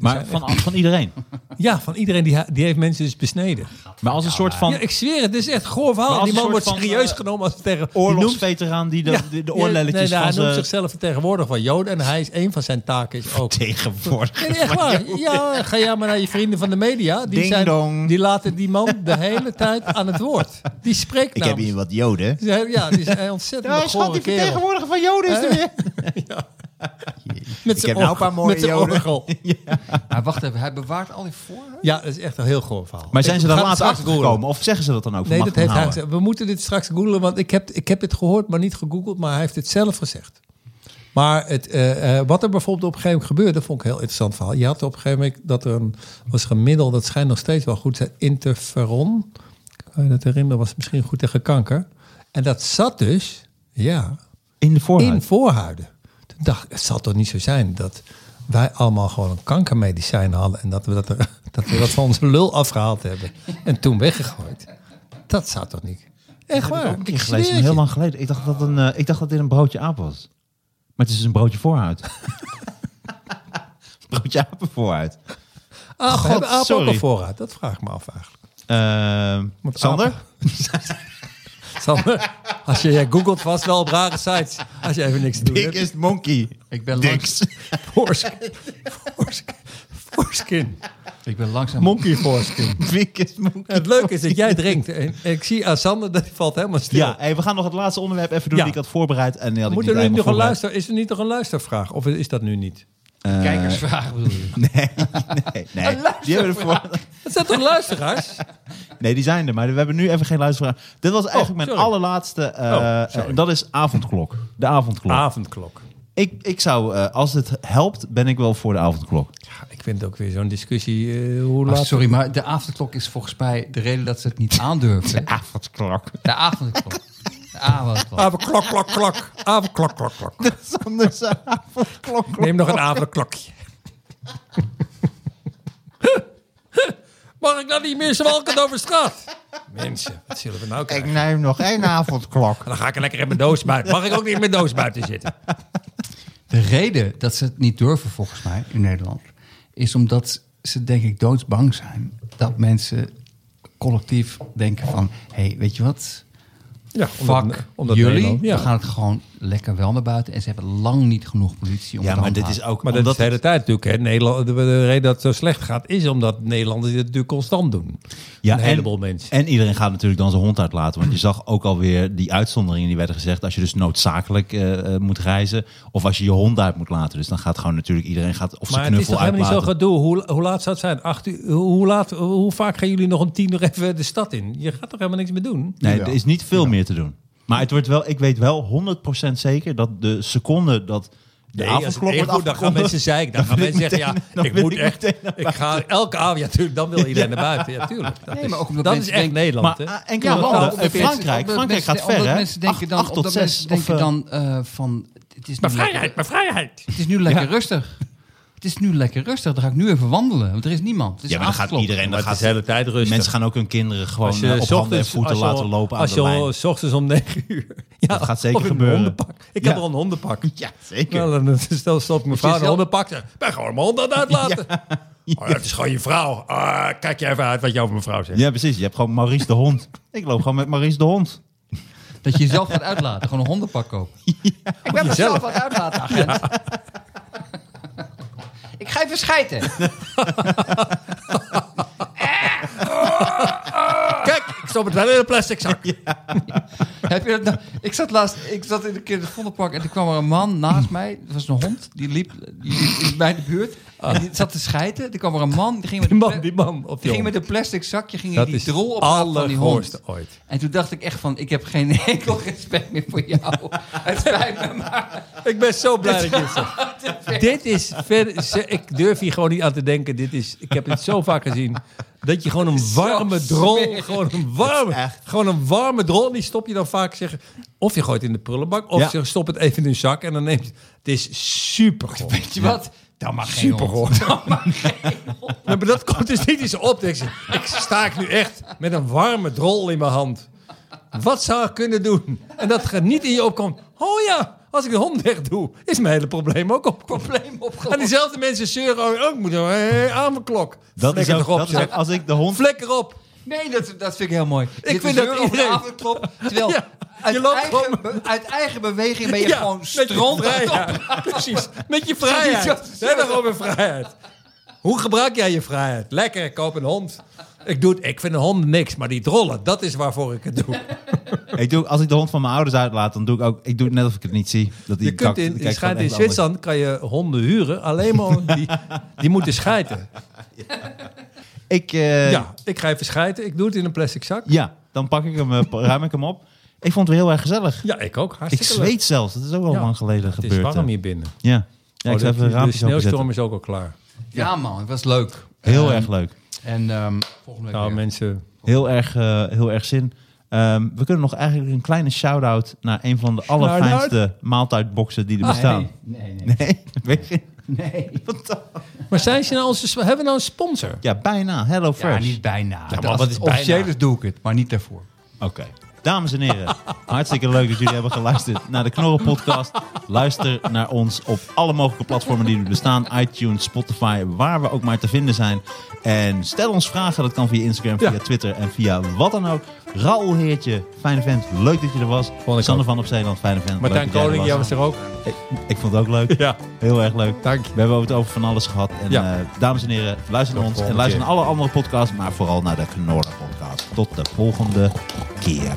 Maar van, van iedereen. Ja, van iedereen die, ha- die heeft mensen dus besneden. Maar als een soort van Ja, ik zweer het. Dit is echt goor verhaal. Maar als Die een man wordt soort van, serieus eh, genomen als tegen... die noemt- oorlogsveteraan die de, Ja, de, de ja, nee, oorlelletjes nee, nou, van Hij noemt zijn zichzelf vertegenwoordiger van Joden. En hij is een van zijn taken is ook... tegenwoordig. Nee, nee, echt waar. Ja, ga jij maar naar je vrienden van de media. Die, Ding dong. zijn, die laten die man de hele tijd aan het woord. Die spreekt Ik heb namens- hier wat joden. Nou. Ja, die is een ontzettend ja, gore kerel. van joden is er weer. Met Ik zijn heb nou een orgel- paar mooie met zijn joden. orgel. Maar Ah, wacht even, hij bewaart al die voor. Ja, dat is echt een heel goor verhaal. Maar zijn ze daar Ga het later straks achter googlen. gekomen? Of zeggen ze dat dan ook? Nee, Mag dat van heeft hij Houwen? gezegd. We moeten dit straks googlen, want ik heb, ik heb het gehoord, maar niet gegoogeld. Maar hij heeft het zelf gezegd. Maar het, eh, eh, wat er bijvoorbeeld op een gegeven moment gebeurde, vond ik een heel interessant verhaal. Je had op een gegeven moment dat er een, was er een middel, dat schijnt nog steeds wel goed, te zijn, interferon. Kan je dat herinneren? Was misschien goed tegen kanker. En dat zat dus, ja, In de voorhuid. in voorhuiden. Toen dacht ik, het zal toch niet zo zijn dat wij allemaal gewoon een kankermedicijn hadden en dat we dat, er, dat, we dat van onze lul afgehaald hebben en toen weggegooid. Dat zou toch niet? Echt waar. Ik ik heb gelezen, maar zweer het heel je. lang geleden. Ik dacht, dat een, eh, ik dacht dat dit een broodje aap was. Maar het is dus een broodje vooruit. broodje apen vooruit. Ah, God, hebben apen ook sorry. een voorraad? Dat vraag ik me af eigenlijk. Eh, Want Sander? Sander, als je, jij googelt vast wel op rare sites. Als je even niks te doen hebt. Biggest monkey. Ik ben, Dicks. langs, Foresk- foresk- Foreskin. ik ben langzaam... Monkey foreskin. Biggest monkey. Het leuke is dat jij drinkt. En ik zie aan Sander, dat hij valt helemaal stil. Ja, hey, we gaan nog het laatste onderwerp even doen Ja. die ik had voorbereid. En die had ik Moet niet er nu helemaal nog een voorbereid. luister, is er niet nog een luistervraag? Of is dat nu niet? Kijkersvraag bedoel je? Nee, nee. Die hebben we ervoor- Dat zijn toch luisteraars? Nee, die zijn er, maar we hebben nu even geen luistervraag. Dit was eigenlijk mijn Oh, sorry. allerlaatste. eh, Oh, sorry. Ah. eh, dat is avondklok. De avondklok. Avondklok. Ik, ik zou, eh, als het helpt, ben ik wel voor de avondklok. Ja, ik vind het ook weer zo'n discussie. eh, hoe laat... Maar Ah, sorry, maar de avondklok is volgens mij de reden dat ze het niet aandurven. Avondklok. De avondklok. De avondklok. Avondklok, klok, klok. Avondklok, klok, klok. Sander zei avondklok. Neem nog een avondklokje. Mag ik dan niet meer zwalken over straat? Mensen, wat zullen we nou Ik krijgen? neem nog één avondklok. Dan ga ik er lekker in mijn doos buiten. Mag ik ook niet in mijn doos buiten zitten? De reden dat ze het niet durven volgens mij in Nederland... is omdat ze denk ik doodsbang zijn dat mensen collectief denken van... hé, hey, weet je wat? Ja, Fuck jullie. We gaan het gewoon lekker wel naar buiten. En ze hebben lang niet genoeg politie om Ja, het maar aan te dit is houden. ook Maar dat omdat is de hele tijd natuurlijk. Hè. Nederland, de, de reden dat het zo slecht gaat, is omdat Nederlanders dit natuurlijk constant doen. Ja, een heleboel mensen. En iedereen gaat natuurlijk dan zijn hond uitlaten. Want je zag ook alweer die uitzonderingen die werden gezegd. Als je dus noodzakelijk eh, eh, moet reizen. Of als je je hond uit moet laten. Dus dan gaat gewoon natuurlijk iedereen gaat of zijn Maar het is knuffel toch helemaal niet uitlaten. zo gedoe. Hoe, hoe laat zou het zijn? Acht uur, hoe, hoe laat, hoe vaak gaan jullie nog om tien uur even de stad in? Je gaat toch helemaal niks meer doen? Nee, er is niet veel meer te doen. Maar het wordt wel, ik weet wel 100% zeker dat de seconde dat de avondklok wordt dan gaan afgekondigd- mensen zeiken. Dan gaan mensen zeggen, ja, dan ik wil moet ik echt... Ik ga elke avond... Ja, tuurlijk, dan wil iedereen naar buiten. Ja, tuurlijk. Dat Nee, is, maar ook omdat dat is mensen echt denken- Nederland, hè? Maar ah, enkele Ja, maar landen, ook eh, omdat mensen- Frankrijk, omdat Frankrijk mensen- gaat ver, Omdat hè? mensen denken dan, 8, tot omdat 6. mensen denken dan eh, van... Het is nu Maar lekker, vrijheid, maar vrijheid. Het is nu lekker rustig. Het is nu lekker rustig. Dan ga ik nu even wandelen. Want er is niemand. Het is ja, maar dan gaat avondklok. iedereen, Maar dan het gaat is de hele tijd rustig. Mensen gaan ook hun kinderen gewoon eh, Als op je handen en ochtends, voeten als je, laten lopen aan als de je lijn. s ochtends om negen uur. Ja, gaat zeker of in een gebeuren. hondenpak. Ik heb Ja. al een hondenpak. Ja, zeker. Nou, dan stel stopt mijn vrouw zelf- een hondenpak. Ik ben gewoon mijn hond aan het uitlaten. Oh, ja, het is gewoon je vrouw. Ah, kijk je even uit wat je over mijn vrouw zegt. Ja, precies. Je hebt gewoon Maurice de hond. Ik loop gewoon met Maurice de hond. Dat je jezelf gaat uitlaten. Gewoon een hondenpak kopen. Ik ben mezelf wat uitlaten, agent. Ik ga even schijten. Kijk, ik stop het wel in een plastic zak. Heb je dat nou? Ik zat laatst, ik zat in een keer in het Vondelpark en toen kwam er een man naast mij. Dat was een hond, die liep, die liep in mijn buurt. En die zat te schijten. Toen kwam er een man, die ging Ah. met Die een man, pla- die man. Op die ging met hond. een plastic zakje ging Dat die is drol ophalen van die hond. allergoorste ooit. En toen dacht ik echt van, ik heb geen enkel respect meer voor jou. Het spijt me, maar Ik ben zo blij dat je het zegt. Dit is verder... ze- Ik durf hier gewoon niet aan te denken. Dit is, ik heb het zo vaak gezien. Dat je gewoon een warme drol... smerig. Gewoon een warme, gewoon een warme drol. Die stop je dan vaak zeggen... Of je gooit in de prullenbak. Of Ja. je stopt het even in een zak. En dan neemt je... Het is super weet je wat? Dan mag geen Super hond. hoor. Nee, maar dat komt dus niet eens op. Ik, ik sta ik nu echt met een warme drol in mijn hand. Wat zou ik kunnen doen? En dat er niet in je opkomt. Oh ja, Als ik de hond weg doe, is mijn hele probleem ook opgelost. Probleem opgelost. En diezelfde mensen zeuren, oh, ik moet een hey, avondklok. Dat is Flikker ook, toch op, dat is zeg. ook als ik de hond... Flikker op. Nee, dat, dat vind ik heel mooi. Ik vind dat iedereen- Terwijl Ja, uit, je loopt eigen, gewoon- be- uit eigen beweging ben je Ja, gewoon met je stront. vrijheid. Precies, met je Zo- vrijheid. zo- Nee, daarom een vrijheid. Hoe gebruik jij je vrijheid? Lekker, ik koop een hond. Ik, doe het, ik vind een hond niks, maar die drollen, dat is waarvoor ik het doe. Ik doe, als ik de hond van mijn ouders uitlaat, dan doe ik ook... Ik doe het net of ik het niet zie. Dat die Je kunt kakt- die in, in, kijkt gewoon schijnt in echt anders. Zwitserland kan je honden huren, alleen maar om- die, die moeten schijten. Ik, eh, Ja, ik ga even schijten, ik doe het in een plastic zak. ja, dan pak ik hem, eh, ruim ik hem op. Ik vond het weer heel erg gezellig. Ja, ik ook, Ik hartstikke leuk. zweet zelfs. Dat is ook al Ja, lang geleden Het gebeurd. is hè. warm hier binnen. Ja. ja ik Oh, zou de, even de raampjes openzetten. sneeuwstorm is ook al klaar. Ja man, het was leuk. Heel Ehm, erg leuk. En ehm, volgende week Nou, weer. mensen, Heel erg, eh, heel erg zin. Ehm, we kunnen nog eigenlijk een kleine shout-out naar een van de allerfijnste maaltijdboxen die er bestaan. Nee, nee, Nee, weet je? nee. maar zijn ze nou onze, sp- hebben we nou een sponsor? Ja, bijna. Hello Ja, Fresh. niet bijna. maar Als wat het is officieel bijna? is, doe ik het, maar niet daarvoor. Oké. Dames en heren, hartstikke leuk dat jullie hebben geluisterd naar de Knorren Podcast. Luister naar ons op alle mogelijke platformen die er bestaan: iTunes, Spotify, waar we ook maar te vinden zijn. En stel ons vragen, dat kan via Instagram, via Ja. Twitter en via wat dan ook. Raoul Heertje, fijne vent, leuk dat je er was. Vond ik Sander ook. van op Zeeland, fijne vent. Martijn leuk dat jij Koning, jij er was. was er ook. Ik, ik vond het ook leuk. Ja. Heel erg leuk. Dank je. We hebben het over van alles gehad. En Ja. eh, dames en heren, luister naar ons en volgende luister keer. naar alle andere podcasts, maar vooral naar de Knorren Podcast. Tot de volgende keer.